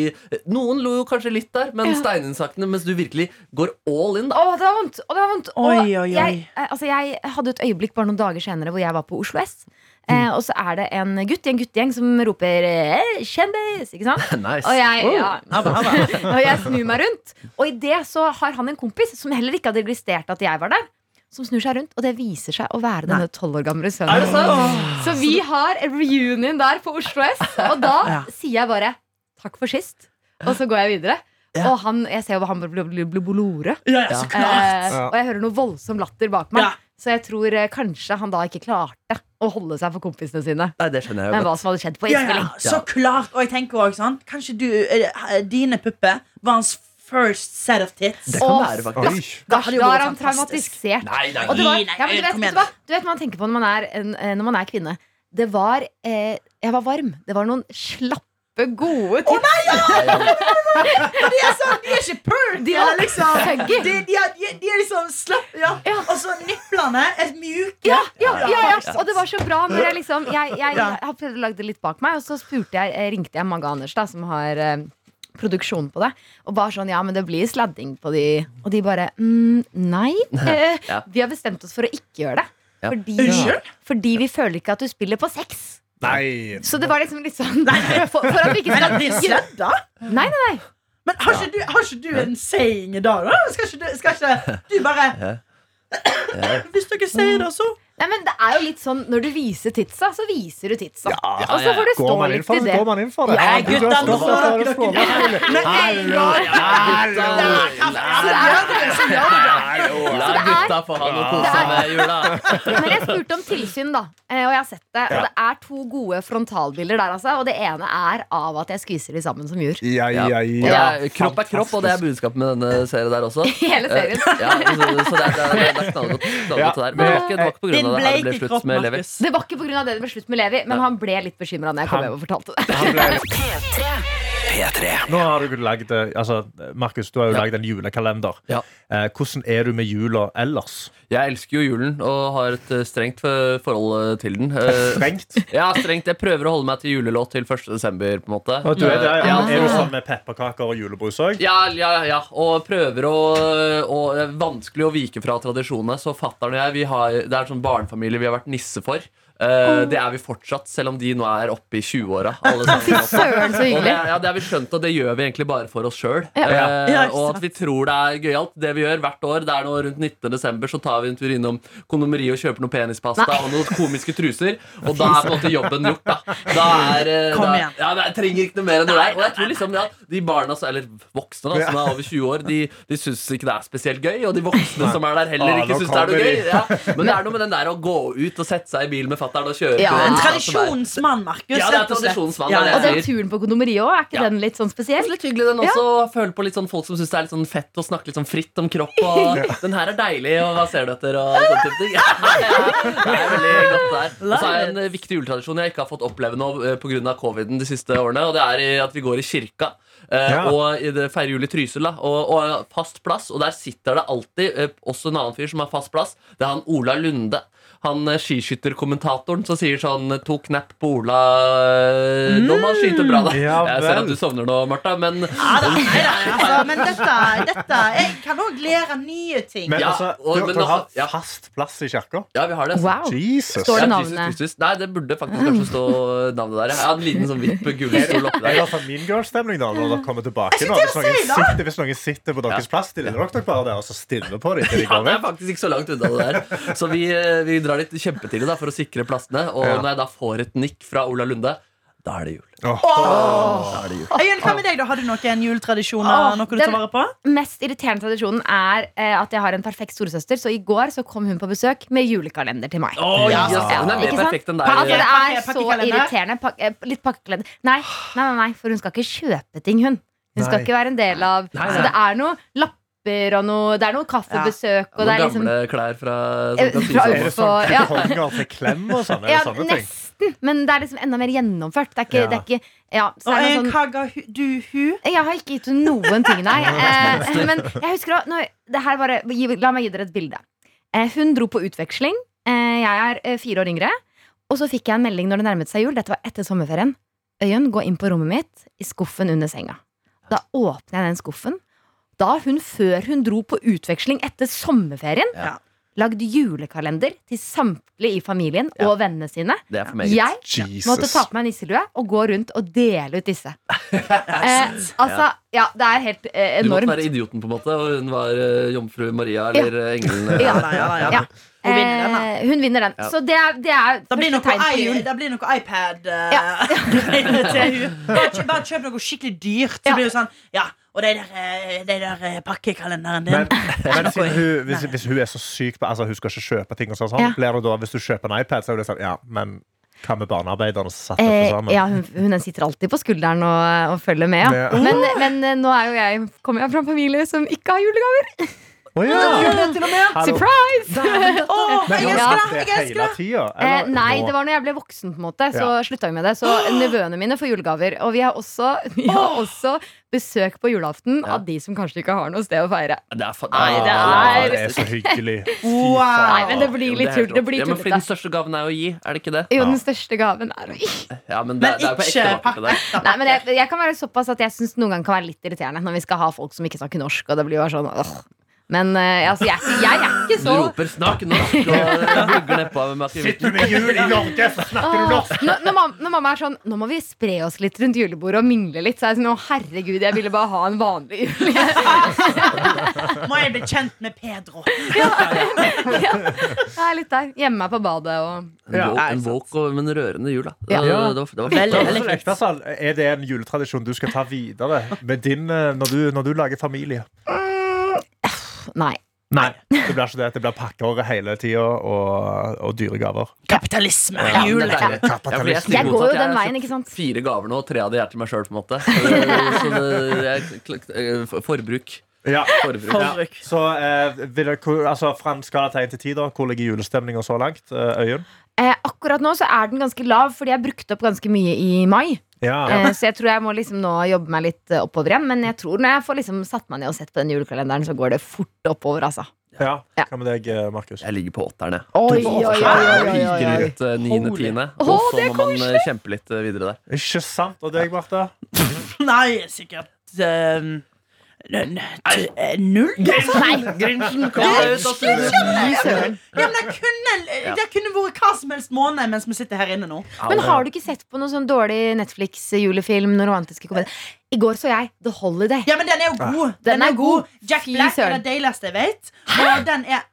Noen lo jo kanskje litt der, men
Ja.
steininnsaktene, mens du virkelig går all in, da. *laughs*
Å, det var vondt! Å, det var vondt. Og
Oi, oi, oi.
Jeg, eh, altså, jeg hadde et øyeblikk bare noen dager senere hvor jeg var på Oslo S. Eh, og så er det en gutt i en guttegjeng som roper eh, 'kjendis', ikke sant?
Nice.
Og jeg, ja,
Abba, abba.
*laughs* og jeg snur meg rundt. Og i det så har han en kompis som heller ikke hadde registrert at jeg var der. Som snur seg rundt, og det viser seg å være denne tolv år gamle sønnen.
Er det sant?
Så vi har en reunion der på Oslo S, og da
Ja.
sier jeg bare takk for sist, og så går jeg videre.
Ja.
Og han, jeg ser jo han blir blir- blir blodrød.
Ja, ja, så klart.
Eh,
Ja.
og jeg hører noe voldsom latter bak meg.
Ja.
Så jeg tror eh, kanskje han da ikke klarte å holde seg for kompisene sine.
Nei, det skjønner jeg
Men
jo godt.
hva som hadde skjedd på
Ja, ja,
innspilling.
så klart. Og jeg tenker også sånn Kanskje du, eh, dine pupper var hans first set of tits.
Det kan
Å,
være, faktisk.
Oi.
Da
Det hadde jo
er
vært
han
fantastisk.
traumatisert.
Nei, nei,
Og det var,
Nei, nei,
ja, men du, vet,
kom
vet
igjen.
du, hva? du vet hva man tenker på når man er, en, eh, når man er kvinne. Det var eh, Jeg var varm. Det var noen slappe, gode tips.
*laughs* De er sånn, de er ikke purr. De er *laughs* liksom de,
Huggy.
de, er, de, de er liksom slapp, ja.
Ja.
Og så niplene er mjuke.
Ja, ja, ja, ja. Og det var så bra når jeg liksom Jeg, jeg,
Ja.
har prøvd å lage det litt bak meg, og så spurte jeg, eh, ringte jeg Magga Anders, da, som har eh, produksjon på det, og bare sånn Ja, men det blir sladding på de Og de bare mm, Nei. Eh,
Ja.
Vi har bestemt oss for å ikke gjøre det.
Ja.
Fordi,
Unnskyld?
fordi vi føler ikke at du spiller på sex.
Nei.
Så det var liksom litt sånn *laughs* for, for at vi ikke
Men
skal
det blir sladda.
Nei, nei, nei.
Men har ikke, du, har ikke du en saying i dag, da? Skal ikke du, skal ikke du bare *clears throat* Hvis dere sier det, så
Nei, men det er jo litt sånn, Når du viser tidsa, så viser du tidsa. Og så får du stå
Går man inn
litt
for
i
det?
det.
Går man inn for det?
Ja,
du- du-
gutta,
du-
nå får dere
du- du-
dere-
du- du-
Med en gang!
La gutta få ha noe å kose
Det
med i jula.
Men jeg spurte om tilsyn, da. eh, Og jeg har sett det. Og
Ja.
det er to gode frontalbilder der, altså. Og det ene er av at jeg skviser de sammen som *laughs* jur.
Ja, ja, ja.
Og det er, kropp er kropp, og det er budskapet med denne serien der også.
Hele serien.
Eh, Ja, så, så det er, det er, det er knallgodt, knallgodt det der. Men det var ikke, det var ikke på grunn av det her det ble
Din bleike
slutt med
kropp,
Levi.
Det var ikke pga. det det ble slutt med Levi, men han ble litt bekymra når jeg kom hjem og fortalte det.
Han
*laughs*
ble-
P3.
Nå har du lagd eh, altså, Markus, du har jo
Ja.
lagd en julekalender.
Ja.
Eh, hvordan er du med jula ellers?
Jeg elsker jo julen og har et eh, strengt eh, forhold eh, til den. Eh,
*laughs* Strengt?
Ja, strengt. Jeg prøver å holde meg til julelåt til 1. desember, på en måte.
Og du er, det, ja.
Ja,
er du sånn med pepperkaker og julebrus òg?
Ja, ja, ja. Og prøver å og Det er vanskelig å vike fra tradisjonene. Så fatter'n og jeg vi har, Det er en sånn barnefamilie vi har vært nisse for. Eh, det er vi fortsatt, selv om de nå er oppe i 20-åra. alle sammen. Og
Søren, så
det,
hyggelig.
ja, det har vi skjønt, og det gjør vi egentlig bare for oss sjøl.
Ja, ikke
og at vi tror det er gøyalt. Det vi gjør hvert år, det er nå rundt 19. desember, så tar vi en tur innom kondomeriet og kjøper noe penispasta
Nei.
og noen komiske truser. Og da er på en måte jobben gjort, da. da, er, eh,
Kom
da
igjen.
ja, det- jeg trenger ikke noe mer enn det der. Og jeg tror liksom ja, de barna, som- eller voksne da, som er over 20 år, de, de syns ikke det er spesielt gøy. Og de voksne som er der, heller
Ah,
ikke
nå
syns det er noe
kommer de.
gøy. Ja. Men det er noe med den der å gå ut og sette seg i bil med fatter'n og kjøre
Ja.
En
til den plassen som er-
tradisjonens mann, Markus.
Ja, det er
rett og slett.
tradisjonens mann,
Ja,
det er
Og
ja.
det.
den turen på kondomeriet òg, er ikke
Ja.
den litt sånn
Det er
spesiell?
litt hyggelig den også. Føler på litt sånn folk som syns det er litt sånn fett å snakke litt sånn fritt om kropp. Og den her er deilig, og hva ser du etter? Og sånn type ting. Det er veldig godt der. Og så er det en eh, viktig juletradisjon jeg ikke har fått oppleve nå eh, på grunn av coviden de siste årene, og det er i at vi går i kirka. eh,
Ja.
Og i det feirer jul i Trysil, da. Og, og fast plass. Og der sitter det alltid eh, også en annen fyr som har fast plass. Det er han Ola Lunde. Han eh, skiskytterkommentatoren som sier sånn To knapp på Ola eh, når man skyter bra, da.
Ja
jeg ser
vel.
at du sovner nå, Martha, men
Ja, da, nei, da, altså, men dette, dette Jeg kan òg lære nye ting.
Men
Ja,
altså,
og-
du,
men
du har
altså, ja.
fast plass i kirka?
Ja, vi har det. altså.
Wow. eh.
Jesus!
Står
Ja,
det
Jesus
navnet?
Kristus. Nei, det burde faktisk kanskje stå navnet der. Jeg hadde en liten sånn vipp gullstol oppi
Jeg
der.
har sånn Mean Girls-stemning da når
Mm.
dere kommer tilbake. Nå. Hvis, noen sitter, hvis noen sitter på deres plass, stiller dere dere bare der og så stiller på dem til de
Ja,
går
det er
vekk.
faktisk ikke så langt unna det der. Så vi, eh, vi drar litt kjempetidlig da, for å sikre plassene. Og
Ja.
når jeg da får et nikk fra Ola Lunde, da er det jul.
Øyunn, hva med deg, da? Har du noen juletradisjoner?
Åh,
Noe du
den-
tar vare på?
Mest irriterende tradisjonen er eh, at jeg har en perfekt storesøster, så i går så kom hun på besøk med julekalender til meg.
ja, Den er
Ikke
mer
sant?
perfekt enn eh,
Pa- altså,
deg.
det er
Pakke-
så
pakkekalender?
irriterende. Pak eh, litt pakkekalender. Nei, nei, nei, nei, for hun skal ikke kjøpe ting, hun. Hun skal
Nei.
ikke være en del av
Nei, nei.
Så det er noe lapper og noe Det er noe kaffebesøk, og
Noen
det er liksom
gamle klær fra
Eh,
som kan
fra-
Er
spise
det
opp.
Så,
sånn
ja.
kuponger til klem og sånn? Er
ja,
det sånne ting?
Nesten, men det er liksom enda mer gjennomført. Det er ikke,
Ja.
det er ikke ja, så
Og
er det
Øyunn,
sånn,
hva ga hu- du hun?
Eh, jeg har ikke gitt henne noen
*laughs*
ting, nei. Eh, men jeg husker også, når, det her bare, gi- La meg gi dere et bilde. Eh, hun dro på utveksling. Eh, jeg er eh, fire år yngre. Og så fikk jeg en melding når det nærmet seg jul. Dette var etter sommerferien. Øyunn, gå inn på rommet mitt, i skuffen under senga. Da åpner jeg den skuffen. Da har hun, før hun dro på utveksling etter sommerferien,
Ja.
lagd julekalender til samtlige i familien
Ja.
og vennene sine.
Det er for meg.
Jeg måtte
Jesus.
ta på meg nisselue og gå rundt og dele ut disse. eh, altså, ja, det er helt eh,
Du måtte være
enormt.
idioten, på en måte, og hun var eh, jomfru Maria eller eh, engelen. eh,
Ja.
Ja, ja, ja.
Ja.
Hun vinner den, da.
Eh, hun vinner den.
Ja.
Så det er, det er
Det blir
første
noe,
tegn på
i-
jul.
det blir noe iPad eh, *laughs*
Ja.
til hun. Bare, kjø- bare kjøp noe skikkelig dyrt. Så
Ja.
blir det sånn, ja, og de der, eh, de der eh, pakkekalenderen
Men,
din.
men siden hun, hvis, hvis hun er så syk på Altså hun skal ikke kjøpe ting, og sånn, sånn
Ja.
blir det da, hvis du kjøper en iPad, så er det sånn Ja, men hva med barnearbeiderne som satt dette
Eh,
sammen?
ja, hun, hun sitter alltid på skulderen og, og følger med. Ja.
Ja.
Men, men eh, nå er jo jeg, kommer jeg fra en familie som ikke har julegaver.
Å, ja. Hallo.
Surprise!
Åh,
Men
jeg elsker det!
hun
Ja.
har
Jeg
det
elsker
hele
det!
tida?
*laughs* Eh, nei, det var når jeg ble voksen, på en måte. Så
Ja.
slutta vi med det.
*gasps*
Så nevøene mine får julegaver. Og vi har også, vi har også besøk på julaften
Ja.
av de som kanskje ikke har noe sted å feire.
Det er, fa-
Nei, det
Ah,
er-
det er så hyggelig. Fy
Wow.
Nei,
faen.
men det blir litt tull. Det blir
ja, men fordi Den
tullete.
største gaven er å gi, er det ikke det?
Jo, den største gaven er å gi.
Ja, men det,
Men
det er jo på ekte
ikke
vakkert, det der.
Nei, men jeg, jeg kan være såpass at jeg syns noen ganger kan være litt irriterende når vi skal ha folk som ikke snakker norsk, og det blir jo bare sånn åh. Men eh, altså, jeg, er ikke- jeg er ikke så
Roper 'snakk norsk' og vugger nedpå
*laughs*
med
Sitter
akevitten.
du med jul i Norge, så snakker du norsk!
Åh, når, når, mamma, når mamma er sånn Nå må vi spre oss litt rundt julebordet og mingle litt. Så er jeg sånn, å herregud, jeg ville bare ha en vanlig jul.
Må jeg bli kjent med Pedro?
ja. Jeg er litt der. Gjemme meg på badet og
En
Ja,
woke-
nei,
En woke, og- men rørende jul, da.
Ja.
Det, var- det var, det var
Veldig.
Ja,
fint.
men sånn ekte, altså, Er det en juletradisjon du skal ta videre med din, eh, når, du, når du lager familie?
Nei.
Nei, det blir ikke det. Det blir pakker hele tida og, og dyre gaver.
Kapitalisme.
Ja,
Jul.
det er deilig. Ja, fordi
Kapitalisme.
stikker
Jeg
mot
går
at
jo den
jeg
veien,
har
ikke sant?
Fire gaver nå, og tre av de er til meg sjøl, på en måte. Så det, jeg, kl- eh, forbruk.
Ja.
Forbruk.
Forbruk.
Så eh, vil dere, hvor- altså, fra en skala til 1 til 10, da, hvor ligger julestemninga så langt? Eh, Øyunn?
Eh, akkurat nå så er den ganske lav, fordi jeg brukte opp ganske mye i mai.
Ja.
Eh, så jeg tror jeg må liksom nå jobbe meg litt eh, oppover igjen. Men jeg tror når jeg får liksom satt meg ned og sett på den julekalenderen, så går det fort oppover, altså.
ja.
Ja.
Hva med deg, eh, Markus?
Jeg ligger på åtteren, jeg.
Oi,
oi, oi,
Ryker ut eh, niende, tiende. Og
Å,
så
det er
må man eh, kjempe litt eh, videre der.
Ikke sant? Og deg, Marte?
Nei, sikkert ehm, n- n- eh, Null?
Grinchen, kom deg ut av
Fy søren.
Ja, men det kunne, det kunne vært hva som helst måned mens vi sitter her inne nå.
Men har du ikke sett på noen sånn dårlig Netflix-julefilm? Noen romantiske komedier? I går så jeg The Holiday.
Ja, men den er jo god. Den er god. Jack
Fy
Black er
søren.
det deiligste jeg vet. Og den er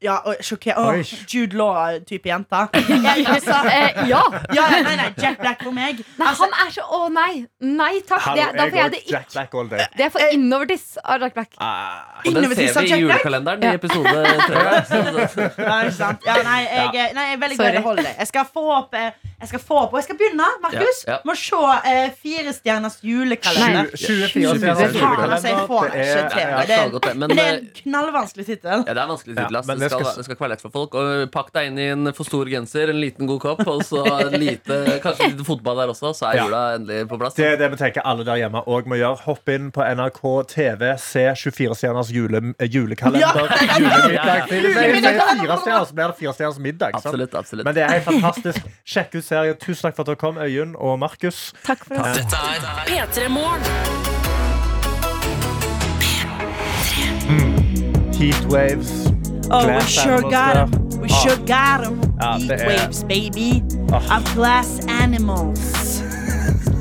ja, og sjokker- og
Oi.
Jude Law-type
*laughs*
jente. Jeg, altså,
Eh, ja.
ja, nei, nei, Jack Black for meg.
Nei,
Altså,
han er så Å nei! Nei takk! Det,
Hallo,
da får jeg
går
det ikke.
Jack Black all day.
Det er
Eh,
for innovertiss av Jack Black.
Og den
Innovativ
ser vi i
subject, right?
julekalenderen i episode tre. Så-
Ja, ikke sant? Ja, nei, jeg, er- nei, jeg er veldig glad i
Sorry.
å holde det. Jeg skal få opp eh, Jeg skal få opp Og jeg skal begynne, Markus,
Ja, ja.
med å se eh, Firestjerners julekalender.
Nei.
Tju- 24
Nei.
stjerners
Faen, altså, jeg får
julekalender.
ikke til
Det er-
Nei,
meg. Det
jeg
er,
skal godt det, men,
men det er en
eh,
knallvanskelig tittel.
Ja, det er vanskelig
Ja,
tittel. ass.
men
det,
det
skal,
skal-
det skal ikke være lett for folk. Og Pakk deg inn i en for stor genser, en liten god kopp, og
*laughs*
så en lite, kanskje litt fotball der også, så er
Ja.
jula endelig på plass.
Det er det vi tenker alle der hjemme òg må gjøre. Hopp inn på NRK TV, se 24-stjerners jule, eh, julekalender.
Ja. *laughs*
Julemiddag. Det er- det er fire stjerner, så blir det fire stjerners middag. sant?
Absolutt, absolutt.
Men det er helt fantastisk. Sjekk ut serien. Tusen takk for at dere kom, Øyunn og Markus.
Takk for oss.
Dette er
P3 Morgen.
Mm. Heat Waves.
Oh, we
Glass Oh.
sure
Animals
got 'em.
der.
We sure got 'em.
Ja,
Heat
det er-
waves, baby.
Oh.
Of glass animals.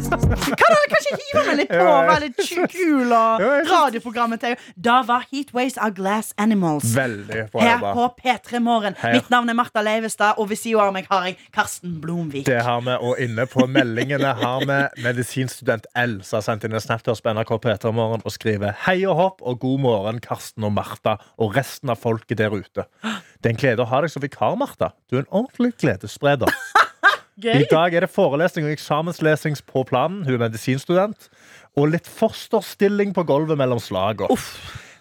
Kan dere kanskje hive meg litt på og være litt kul og
Jo, jeg synes-
radioprogrammet til Da var Heat Waves av Glass Animals.
Veldig bra
Her
jobba.
på P3 Morgen.
Her.
Mitt navn er Martha Leivestad, og ved siden av meg har jeg Karsten Blomvik.
Det har vi, og inne på meldingene har vi medisinstudent L, som har sendt inn en snap til oss på NRK P3 Morgen og skriver Hei og hopp, og god morgen, Karsten og Martha og resten av folket der ute. Det er en glede å ha deg som vikar, Martha. Du er en ordentlig gledesspreder. I dag er det forelesning og eksamenslesing på planen. Hun er medisinstudent. Og litt fosterstilling på gulvet mellom slagene.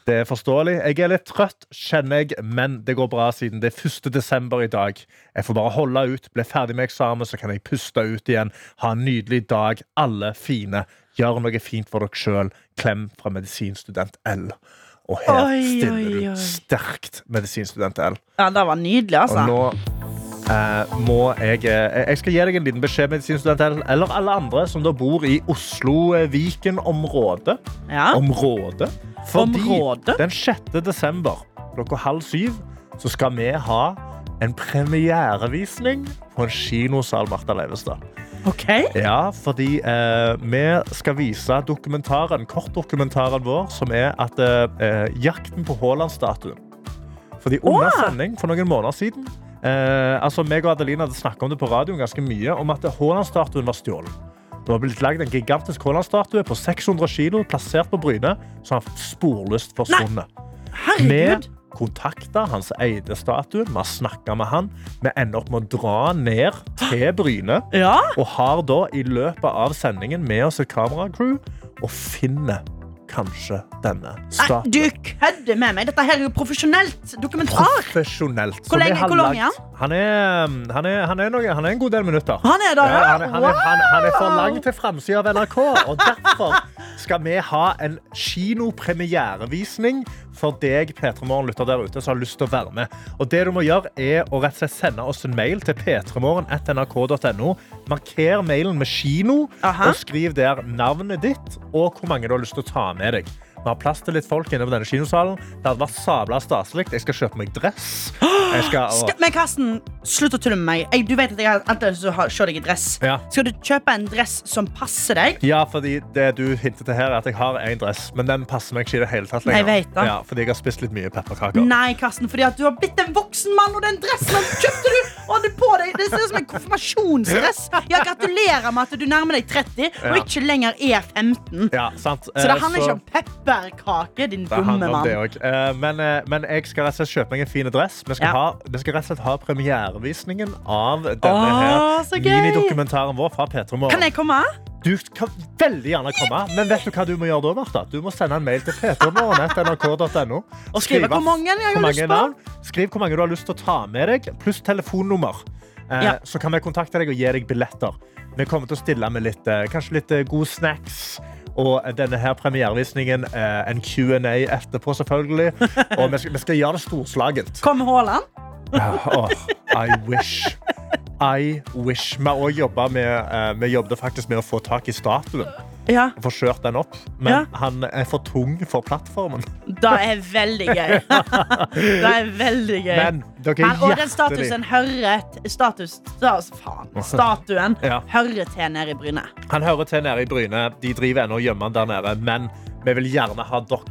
Det er forståelig. Jeg er litt trøtt, kjenner jeg, men det går bra siden det er 1. desember i dag. Jeg får bare holde ut, bli ferdig med eksamen, så kan jeg puste ut igjen. Ha en nydelig dag, alle fine. Gjør noe fint for dere sjøl. Klem fra medisinstudent L. Og her
Oi,
stiller
oi, oi.
du sterkt, medisinstudent L.
Ja, det var nydelig, altså.
Og nå eh, må jeg eh, Jeg skal gi deg en liten beskjed, medisinstudent Ellen, eller alle andre som da bor i eh, Oslo-Viken-området.
Ja.
Området. Fordi
Området?
den 6. desember klokka halv syv så skal vi ha en premierevisning på en kinosal, Martha Leivestad.
OK.
Ja, fordi eh, vi skal vise dokumentaren, kortdokumentaren vår, som er at eh, eh, jakten på Haaland-statuen. Fordi under
Åh!
sending for noen måneder siden eh, altså meg og Adeline hadde snakket om det på radioen ganske mye, om at Haaland-statuen var stjålet. Det var blitt lagd en gigantisk Haaland-statue på 600 kilo, plassert på Bryne, som har sporløst forsvunnet. Vi
Herregud.
kontakta hans eide statue, vi har snakka med han. Vi ender opp med å dra ned til Bryne.
Ja.
Og har da i løpet av sendingen med oss et kameracrew og finner kanskje denne
Nei,
statuen.
du kødder med meg. Dette her er jo profesjonelt dokumentar.
Profesjonelt. Så
Hvor
vi
lenge-
har
hvor lang er
lagt- Han er, mm, han, er, han, er noe, han er en god del minutter.
Han er
Ja,
der, ja.
han, er, han, er, han, han er for lang til framsida av NRK, og derfor skal vi ha en kinopremierevisning for deg, P3morgen-lytter der ute, som har lyst til å være med. Og det du må gjøre, er å rett og slett sende oss en mail til p3morgen.nrk.no. Marker mailen med kino,
Aha.
og skriv der navnet ditt og hvor mange du har lyst til å ta med deg. Vi har plass til litt folk inne på denne kinosalen. Det hadde vært sabla staselig. Jeg skal kjøpe meg dress. Jeg skal,
*gasps* Skal, men Karsten, slutt å tulle med meg. Jeg, du vet at jeg har enten så har, se deg i dress.
Ja.
Skal du kjøpe en dress som passer deg?
Ja, fordi det du hintet til her er at jeg har en dress, men den passer meg ikke i det hele tatt lenger.
Jeg vet det.
Ja, fordi jeg har spist litt mye pepperkaker.
Nei, Karsten, fordi at du har blitt en voksen mann, og den dressen han kjøpte du og hadde på deg. Det ser ut som en konfirmasjonsdress. Ja, gratulerer med at du nærmer deg 30 og
Ja.
ikke lenger er 15.
Ja, sant.
Så det
Eh,
handler ikke om pepperkake, din
det
dumme
handler om det
mann.
også. Eh, Men, eh, men jeg skal rett og slett kjøpe meg en fin dress. Vi skal,
Ja.
ha, vi skal rett og slett ha premierevisningen av denne
Åh, så
her
gøy!
minidokumentaren vår fra P3
Kan
Morgen.
jeg komme?
Du kan veldig gjerne komme, men vet du hva du må gjøre da, Martha? Du må sende en mail til p3morgen.nrk.no.
Og skrive hvor mange jeg har lyst på.
Skriv hvor mange du har lyst til å ta med deg, pluss telefonnummer. Eh,
Ja.
Så kan vi kontakte deg og gi deg billetter. Vi kommer til å stille med litt, eh, kanskje litt eh, god snacks. Og denne her premierevisningen, eh, en Q&A etterpå, selvfølgelig.
*laughs*
Og vi skal, vi skal gjøre det storslagent.
Kom Haaland?
Ja, åh, I wish. I wish. Vi har også jobbet med, eh, vi jobbet faktisk med å få tak i statuen
Ja,
og få kjørt den opp. Men
Ja.
han er for tung for plattformen.
det er veldig gøy.
*laughs*
Det er veldig gøy.
Men
Men, og
dere er
den
hjertelig
statusen hører t- status, stas, faen, Statuen
Ja.
hører til nede i Bryne.
Han hører til nede i Bryne. De driver ennå og gjemmer han der nede. Men vi vil gjerne ha dere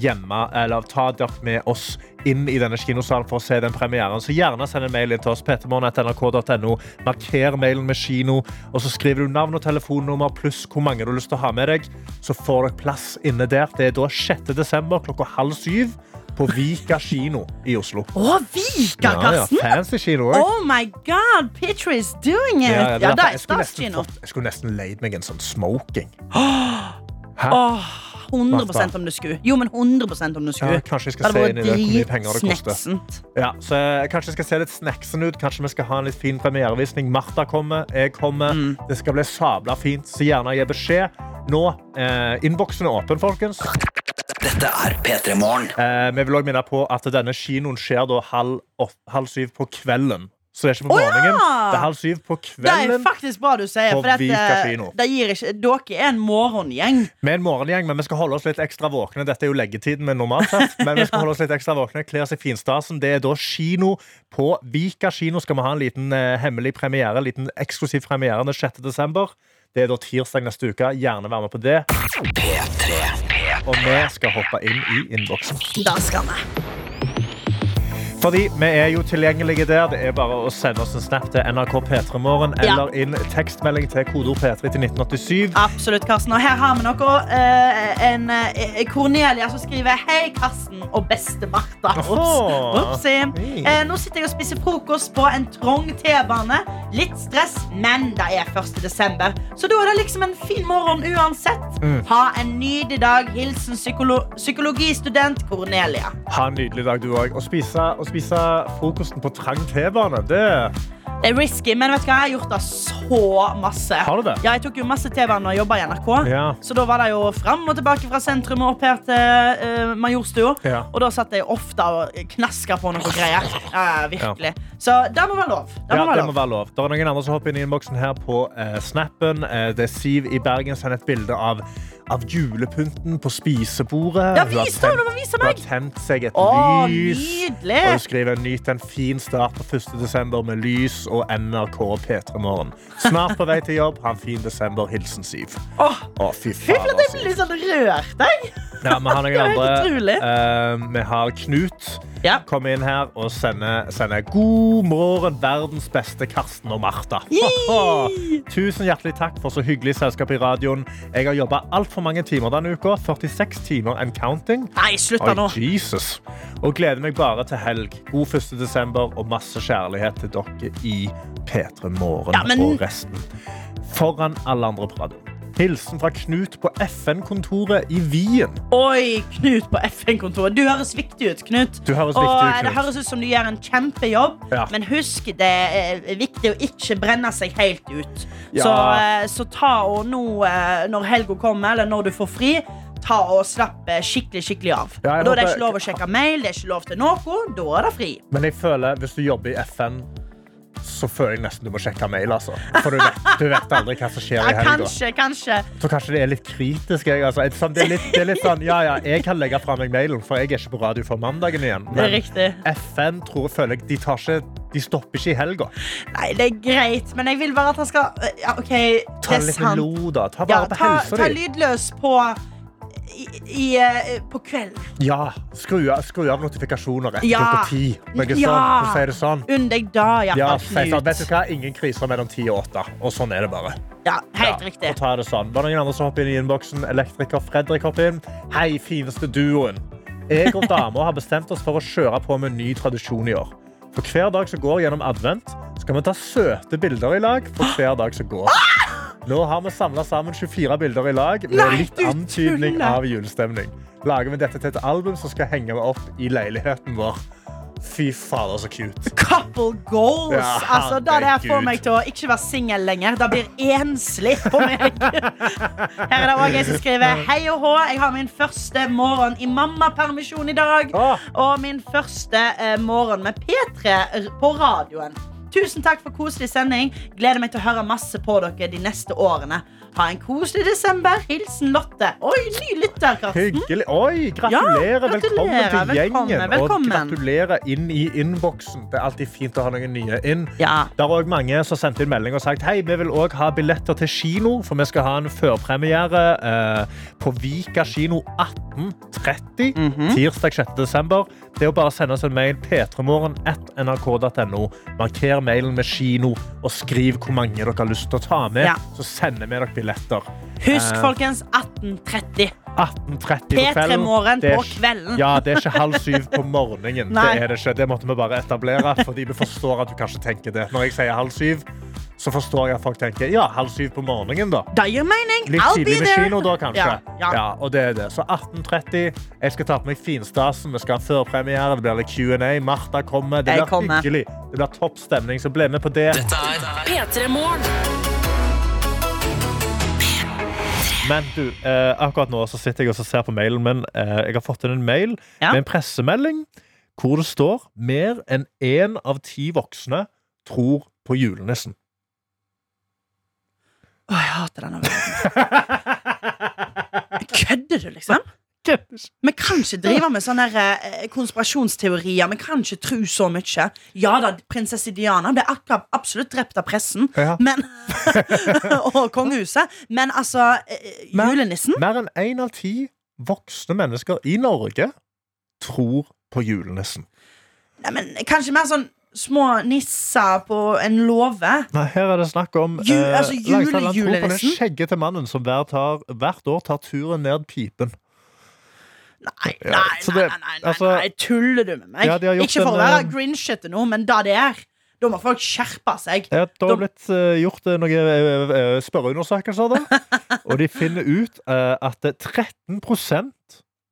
hjemme, eller ta dere med oss inn i denne kinosalen for å se den premieren. Så gjerne send en mail inn til oss, ptmorgen.nrk.no. Marker mailen med kino, og så skriver du navn og telefonnummer pluss hvor mange du har lyst til å ha med deg. Så får dere plass inne der. Det er da 6. desember klokka halv syv på Vika kino i Oslo.
Å, Vika, Karsten!
fancy kino også.
Oh my god, Picture is doing it!
Ja,
Ja,
ja, det er
det
derfor-
er
jeg skulle nesten
statskino.
fått- Jeg skulle nesten leid meg en sånn smoking. Hæ?
Åh, 100 om du skulle. Jo, men 100 om du
Ja,
skulle.
kanskje
Det
jeg skal se
hadde
inn i det hvor mye
vært
penger det koster.
dritsneksent.
Ja, så jeg kanskje jeg skal se litt snacksen ut. Kanskje vi skal ha en litt fin premierevisning. Martha kommer, jeg kommer.
Mm.
Det skal bli sabla fint, så gjerne gi beskjed. Nå, eh, Innboksen er åpen, folkens.
Dette er P3 Morgen.
Eh, vi vil også minne på at denne kinoen skjer da halv, åt- halv syv på kvelden. Så det er ikke på
Å, ja!
morgenen. Det er halv syv på
Det er
kvelden
faktisk bra du sier, for
på
dette,
Vika kino.
det gir ikke, dere er en morgengjeng.
med en morgengjeng. Men vi skal holde oss litt ekstra våkne. Dette er jo leggetiden min normalt sett. Men vi skal holde oss litt ekstra våkne, kle oss i finstasen. Det er da kino på Vika kino. Skal vi ha en liten eh, hemmelig premiere, en liten eksklusiv premiere den 6. desember. Det er da tirsdag neste uke. Gjerne være med på det. Og vi skal hoppe inn i innboksen.
Da skal vi.
Fordi vi er jo tilgjengelige der. Det er bare å sende oss en snap til NRK P3morgen
Ja.
eller inn tekstmelding til kodeord P3 til 1987.
Absolutt, Karsten. Og her har vi noe. eh, en eh, Cornelia som skriver Hei, Karsten og beste Martha. Ops.
Åh.
Opsi. Eh, nå sitter jeg og spiser frokost på en trang T-bane. Litt stress, men det er 1. desember, så da er det liksom en fin morgen uansett. Ha en nydelig dag. Hilsen psykolo psykologistudent Cornelia.
Ha en nydelig dag, du òg. Og spise, og spise frokosten på trang T-bane. Det
Det er risky, men vet du hva? jeg har gjort det så masse.
Har du det?
Ja, jeg tok jo masse TV-er når jeg jobba i NRK.
Ja.
Så da var det jo fram og tilbake fra sentrum og opp her til eh, Majorstua.
Ja.
Og da satt jeg ofte og knaska på noe greier. Ja, ja, virkelig. Så det må være lov. Det
Ja,
må være
det må
lov.
være lov. Det er noen andre som hopper inn i innboksen her på eh, snappen. Eh, det er Siv i Bergen som sender et bilde av, av julepynten på spisebordet.
Ja,
Hun har
vis det,
tent-
du må vise
Hun har
meg.
tent seg et
Å,
lys.
nydelig.
Og hun skriver nyt en fin start på 1. desember med lys og NRK P3 Morgen. Snart på vei til jobb. Ha en fin desember. Hilsen Siv.
Åh,
Å, fy altså.
Fy flate,
fader,
jeg blir
Siv.
litt sånn rørt, jeg.
Ja, vi
*laughs*
har
Det
noen
er helt
andre.
utrolig.
Eh, vi har Knut.
Ja.
Kom inn her og sende, sende god morgen, verdens beste Karsten og Martha. *laughs*
Yee!
Tusen hjertelig takk for så hyggelig selskap i radioen. Jeg har jobba altfor mange timer denne uka. 46 timer and counting.
Nei, slutt da
Oi,
nå.
Jesus. Og gleder meg bare til helg. God 1. desember og masse kjærlighet til dere i P3 Morgen
Ja, men-
og resten. Foran alle andre på radioen. Hilsen fra Knut på FN-kontoret i Wien.
Oi, Knut på FN-kontoret. Du høres viktig ut, Knut.
Du høres
og
viktig ut,
eh, Det
Knut.
høres ut som du gjør en kjempejobb,
Ja.
men husk det eh, er viktig å ikke brenne seg helt ut.
Ja.
Så, eh, så ta og nå eh, når helga kommer, eller når du får fri, ta og slapp eh, skikkelig skikkelig av.
Ja, jeg
og da er det
håper-
ikke lov å sjekke mail, det er ikke lov til noe. Da er det fri.
Men jeg føler hvis du jobber i FN, så føler jeg nesten du må sjekke mail. Altså. For du vet, du vet aldri hva som skjer i
Ja,
helga.
kanskje, kanskje.
Så kanskje det er litt kritisk. Jeg, altså. Et sånt- det, er litt, det er litt sånn Ja, ja, jeg kan legge fra meg mailen, for jeg er ikke på radio før mandagen igjen.
Det er
Men
riktig.
FN tror, føler jeg de, tar ikke, de stopper ikke i helga.
Nei, det er greit, men jeg vil bare at han skal eh, ja, OK, det
Ta
er
litt med
sant.
lo, da. Ta
Ja,
vare på
ta, ta
helsa di.
lydløs på i, i, eh, på kvelden.
Ja, skru av, skru av notifikasjoner etter
Ja.
klokka ti. Noe
Ja.
sånt. Så sier du sånn.
Unn deg da,
Ja,
Jakob
sier sånn, vet du
Knut.
hva? Ingen kriser mellom ti og åtte. Og sånn er det bare.
Ja, helt
Ja,
riktig.
og ta det sånn. Var det noen andre som hoppet inn i innboksen? Elektriker Fredrik hoppet inn. Hei, fineste duoen. Jeg og dama har bestemt oss for å kjøre på med en ny tradisjon i år. For hver dag som går gjennom advent, skal vi ta søte bilder i lag for hver dag som går. Nå har vi samla sammen 24 bilder i lag med
Nei,
litt
du
antydning
tuller.
av julestemning. Lager vi dette til et album som skal henge meg opp i leiligheten vår. Fy fader, så cute.
Couple goals!
Ja,
altså, da det her får
herregud.
meg til å ikke være singel lenger. Det blir enslig på meg. *laughs* Her er det òg jeg som skriver Hei og hå, jeg har min første morgen i mammapermisjon i dag.
Åh.
Og min første eh, morgen med P3 r- på radioen. Tusen takk for koselig sending. Gleder meg til å høre masse på dere de neste årene. Ha en koselig desember. Hilsen Lotte. Oi, ny lytter, Karsten.
Hyggelig. Oi, gratulerer.
Ja, gratulerer.
Velkommen til
Velkommen,
gjengen.
velkommen.
Og gratulerer inn i innboksen. Det er alltid fint å ha noen nye inn.
Ja.
Det er også mange som sendte inn melding og sagt hei, vi vil også ha billetter til kino, for vi skal ha en førpremiere eh, på Vika kino 18.30
Mhm.
tirsdag 6. desember. Det er å bare sende oss en mail p3morgen.nrk.no. Marker mailen med kino og skriv hvor mange dere har lyst til å ta med,
Ja.
så sender vi dere billetter.
Husk,
Eh.
folkens, 1830.
18.30 på
P3
kvelden.
morgen
Det er
på
ikke-
kvelden.
Ja, det er ikke halv syv på morgenen.
Nei.
Det er det ikke. Det måtte vi bare etablere, fordi vi forstår at du kanskje tenker det. Når jeg sier halv syv, så forstår jeg at folk tenker ja, halv syv på morgenen, da.
Det gir mening.
Litt
I'll be
tidlig med
there.
kino, da, kanskje.
Ja, ja.
og det er det. Så 18.30. Jeg skal ta på meg finstasen. Vi skal ha førpremiere. Det blir litt Q&A. Martha kommer. Det
Jeg
blir
kommer.
hyggelig. Det blir topp stemning, så bli med på det.
P3 Morgen.
Men du, eh, akkurat nå så sitter jeg og så ser på mailen min. Eh, jeg har fått inn en mail
Ja.
med en pressemelding hvor det står mer enn én av ti voksne tror på
*laughs*
julenissen.
Å, jeg hater denne verden. Kødder du, liksom? Vi kan ikke drive med sånne her, eh, konspirasjonsteorier. Vi kan ikke tro så mye. Ja da, prinsesse Diana ble akkurat absolutt drept av pressen.
Ja.
Men, *laughs* og kongehuset. Men altså, eh,
Men-
julenissen
Mer enn én av ti voksne mennesker i Norge tror på julenissen.
Nei, men, Kanskje mer sånn små nisser på en låve.
Nei, her er det snakk om
Ju- altså,
Langstrand, han tror på den
julejulenissen?
skjeggete mannen som hver tar, hvert år tar turen ned pipen.
Nei, nei,
Ja,
nei,
så
nei,
det-
nei, nei,
altså-
nei, tuller du med meg?
Ja, de har gjort
Ikke for å
en,
være
eh,
grinchete nå, men da det er Da må folk skjerpe seg.
Ja, det
Da-
har blitt eh, gjort eh, noen eh, eh, spørreundersøkelser, da.
*laughs*
Og de finner ut eh, at 13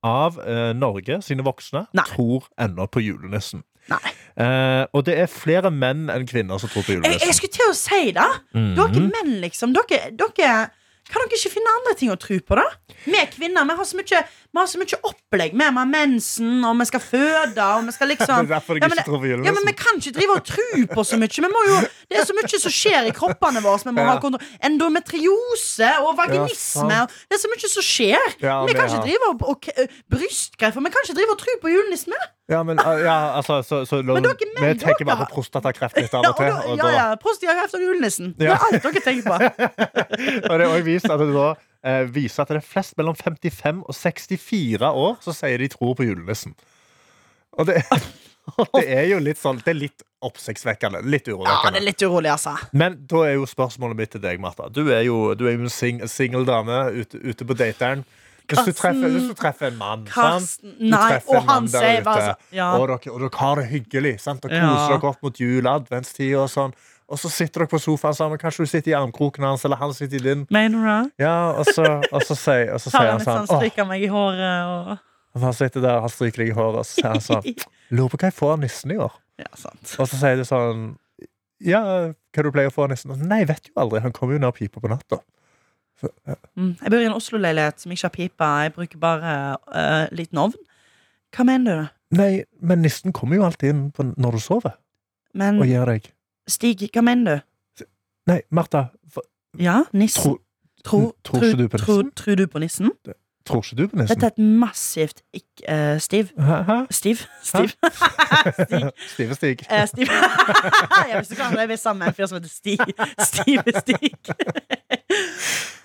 av eh, Norge sine voksne
Nei.
tror ennå på julenissen.
Nei.
Eh, og det er flere menn enn kvinner som tror på
Jeg, jeg
julenissen.
skulle til å si det.
Mhm.
Dere menn, liksom. Dere, dere kan dere ikke finne andre ting å tro på, da? Vi kvinner vi har så mye, vi har så mye opplegg. Vi har mensen, og vi skal føde, og vi skal
Det *laughs* er
liksom
derfor jeg
Ja, men
ikke tror på
ja, men Vi
julenissen.
kan ikke drive og tro på så mye. Vi må jo, det er så mye som skjer i kroppene våre. som Vi må ha kontroll. Endometriose og vaginisme.
Ja,
og det er så mye som skjer.
Ja,
vi
det
kan ikke
har-
drive og, og k- Brystkreft. og Vi kan ikke drive og tro på julenissen. vi.
Ja, men, eh, ja, altså, så, så,
Men dere
vi
menn,
tenker
dere-
bare på prostatakreft litt av
*laughs* Ja,
og til.
og
Og
da, ja,
da,
ja. Prostatakreft og julenissen. Det
Ja.
er alt dere tenker
*laughs*
på.
og det er også vist at det da eh, viser at det er flest mellom 55 og 64 år som sier de tror på julenissen.
*laughs*
Og det, og det er jo litt sånn Det er litt oppsiktsvekkende. Litt
Ja, det
urovekkende.
er litt urolig, altså.
Men da er jo spørsmålet mitt til deg, Martha. Du er jo, du er jo en sing singel dame ute, ute på dateren. Hvis du,
Karsten.
treffer, hvis du treffer en mann,
Karsten.
sant? Du
Nei,
treffer
og
en mann
han
der
sier
ute,
bare så- ja.
og, dere, og dere har det hyggelig. Sant? Dere
Ja.
koser dere opp mot jul, adventstid og sånn. Og så sitter dere på sofaen sammen. Kanskje du sitter i armkroken hans, eller han sitter i din.
Mener du det?
Ja, og så, og så, sier, og
Har
så sier
han
han
litt sånn
sånn Åh,
stryker meg i håret og
*laughs* Han sitter der og har stryker deg i håret, og så sier han
*laughs*
sånn Lurer på hva jeg får av nissen i år.
Ja, sant.
Og så sier du sånn Ja, hva du pleier å få av nissen? Nei, vet jo aldri. Han kommer jo ned pipa på natta.
Mm. Jeg bor i en Oslo-leilighet som ikke har pipe. Jeg bruker bare eh, liten ovn. Hva mener du?
Nei, men nissen kommer jo alltid inn på når du sover,
Men
og gir deg.
Stig, hva mener du?
Nei, Martha. for-
Ja, nissen?
Tro, tror ikke du på
tro-
nissen?
tror du på nissen?
tror ikke du på nissen?
Dette er et massivt ikk... eh, stiv.
Hæ? Hæ?
Stiv? Stiv? *laughs* Stig.
*laughs* Stive Stig.
Eh, Stiv. *laughs* jeg visste ikke om jeg var sammen med en fyr som heter Stig. Stive Stig. *laughs*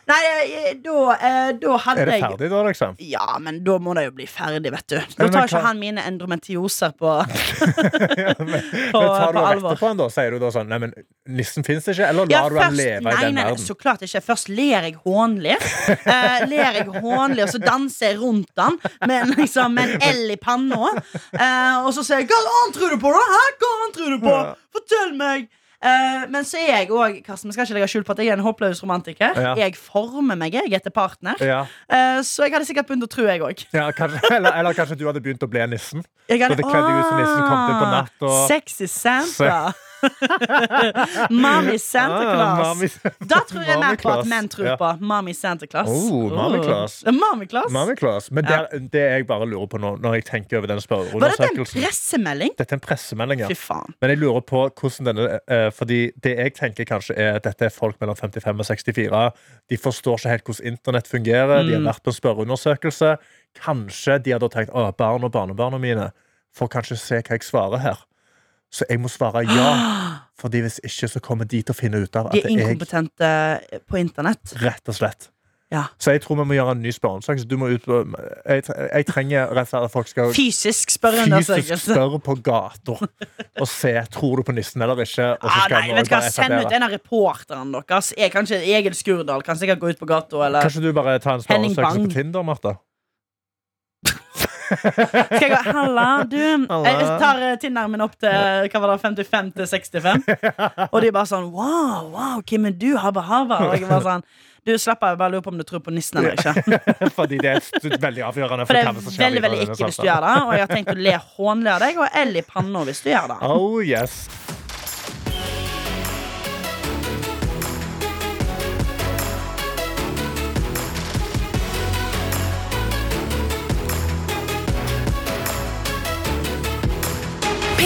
Nei, eh, da, eh, da
Er
hadde
det
jeg
ferdig da, liksom?
Ja, men da må det jo bli ferdig, vet du. Nå
men
tar ikke
hva-
han mine endometioser
*laughs*
på
ja, men, men tar
på
du og
alvor.
retter på han da? Sier du da sånn Nei, men nissen fins ikke? Eller lar du han leve
nei,
i den
nei,
verden?
Så klart ikke. Først ler jeg hånlig. Eh, ler jeg hånlig, og så danser jeg rundt den med, en- liksom, med en L i panna. Eh, og så sier jeg 'Hva annet tror du på, da?' Hæ? Hva annet tror du på? Fortell meg! Eh, men så er jeg òg Karsten, vi skal ikke legge skjul på at jeg er en håpløs romantiker.
Ja.
Jeg former meg jeg etter partner.
Ja,
Eh, så jeg hadde sikkert begynt å tro, jeg òg.
ja kanskje, *laughs* eller, eller kanskje du hadde begynt å bli nissen?
Jeg
Så det kledde jeg ut som nissen, kom til på
Ah,
natt og-
Sexy Santa. *laughs* Mommy Santa
Ah,
Claus.
mami-
*laughs* Da tror jeg mer på at
Mami-class.
menn tror
Ja.
på Mami Santa Claus.
Oh, Mami-class.
Oh. Mami-class.
Mami Claus. Men det, det jeg bare lurer på nå, når jeg tenker over den
Var dette en
spørreundersøkelsen
pressemelding?
Dette er en pressemelding, ja.
Fy faen.
Men jeg lurer på hvordan denne eh, Fordi det jeg tenker kanskje er at dette er folk mellom 55 og 64. De forstår ikke helt hvordan internett fungerer. De
Mm.
har vært på en spørreundersøkelse. Kanskje de hadde tenkt at barn og barnebarna mine får kanskje se hva jeg svarer her. Så jeg må svare ja.
*gasps*
Fordi hvis ikke så kommer de til å finne ut av
De er
at det er jeg
inkompetente eh, på internett.
rett og slett.
Ja.
Så jeg tror vi må gjøre en ny spørreundersøkelse. Du må ut jeg, tre- jeg trenger rett og slett at folk skal
Fysisk
fysisk
spørreundersøkelse.
spørre på gata og se tror du på nissen eller ikke. Og så
Ah,
skal
nei,
vi
vet du hva,
bare
Send ut
etablere.
en av reporterne deres. Jeg kan ikke, Egil Skurdal kan sikkert gå ut på gata. Eller.
Kanskje du bare tar en
Henning
spørreundersøkelse
Bang.
på Tinder, Martha? *laughs*
Skal jeg gå, Halla, du. Jeg tar eh, Tinderen min opp til hva var det, 55 til 65. Og de er bare sånn Wow, wow, hvem er du? Habba Habba. Og jeg er bare sånn Du, slapp av. Jeg bare lurer på om du tror på nissen eller ikke.
Fordi det er st- veldig avgjørende.
For det
hva
er
som skjer
veldig
videre
veldig
i denne
ikke hvis du
samtalen.
gjør det. Og jeg har tenkt å le hånlig av deg, og L i panna hvis du gjør det.
Oh yes.
P3 Morgen.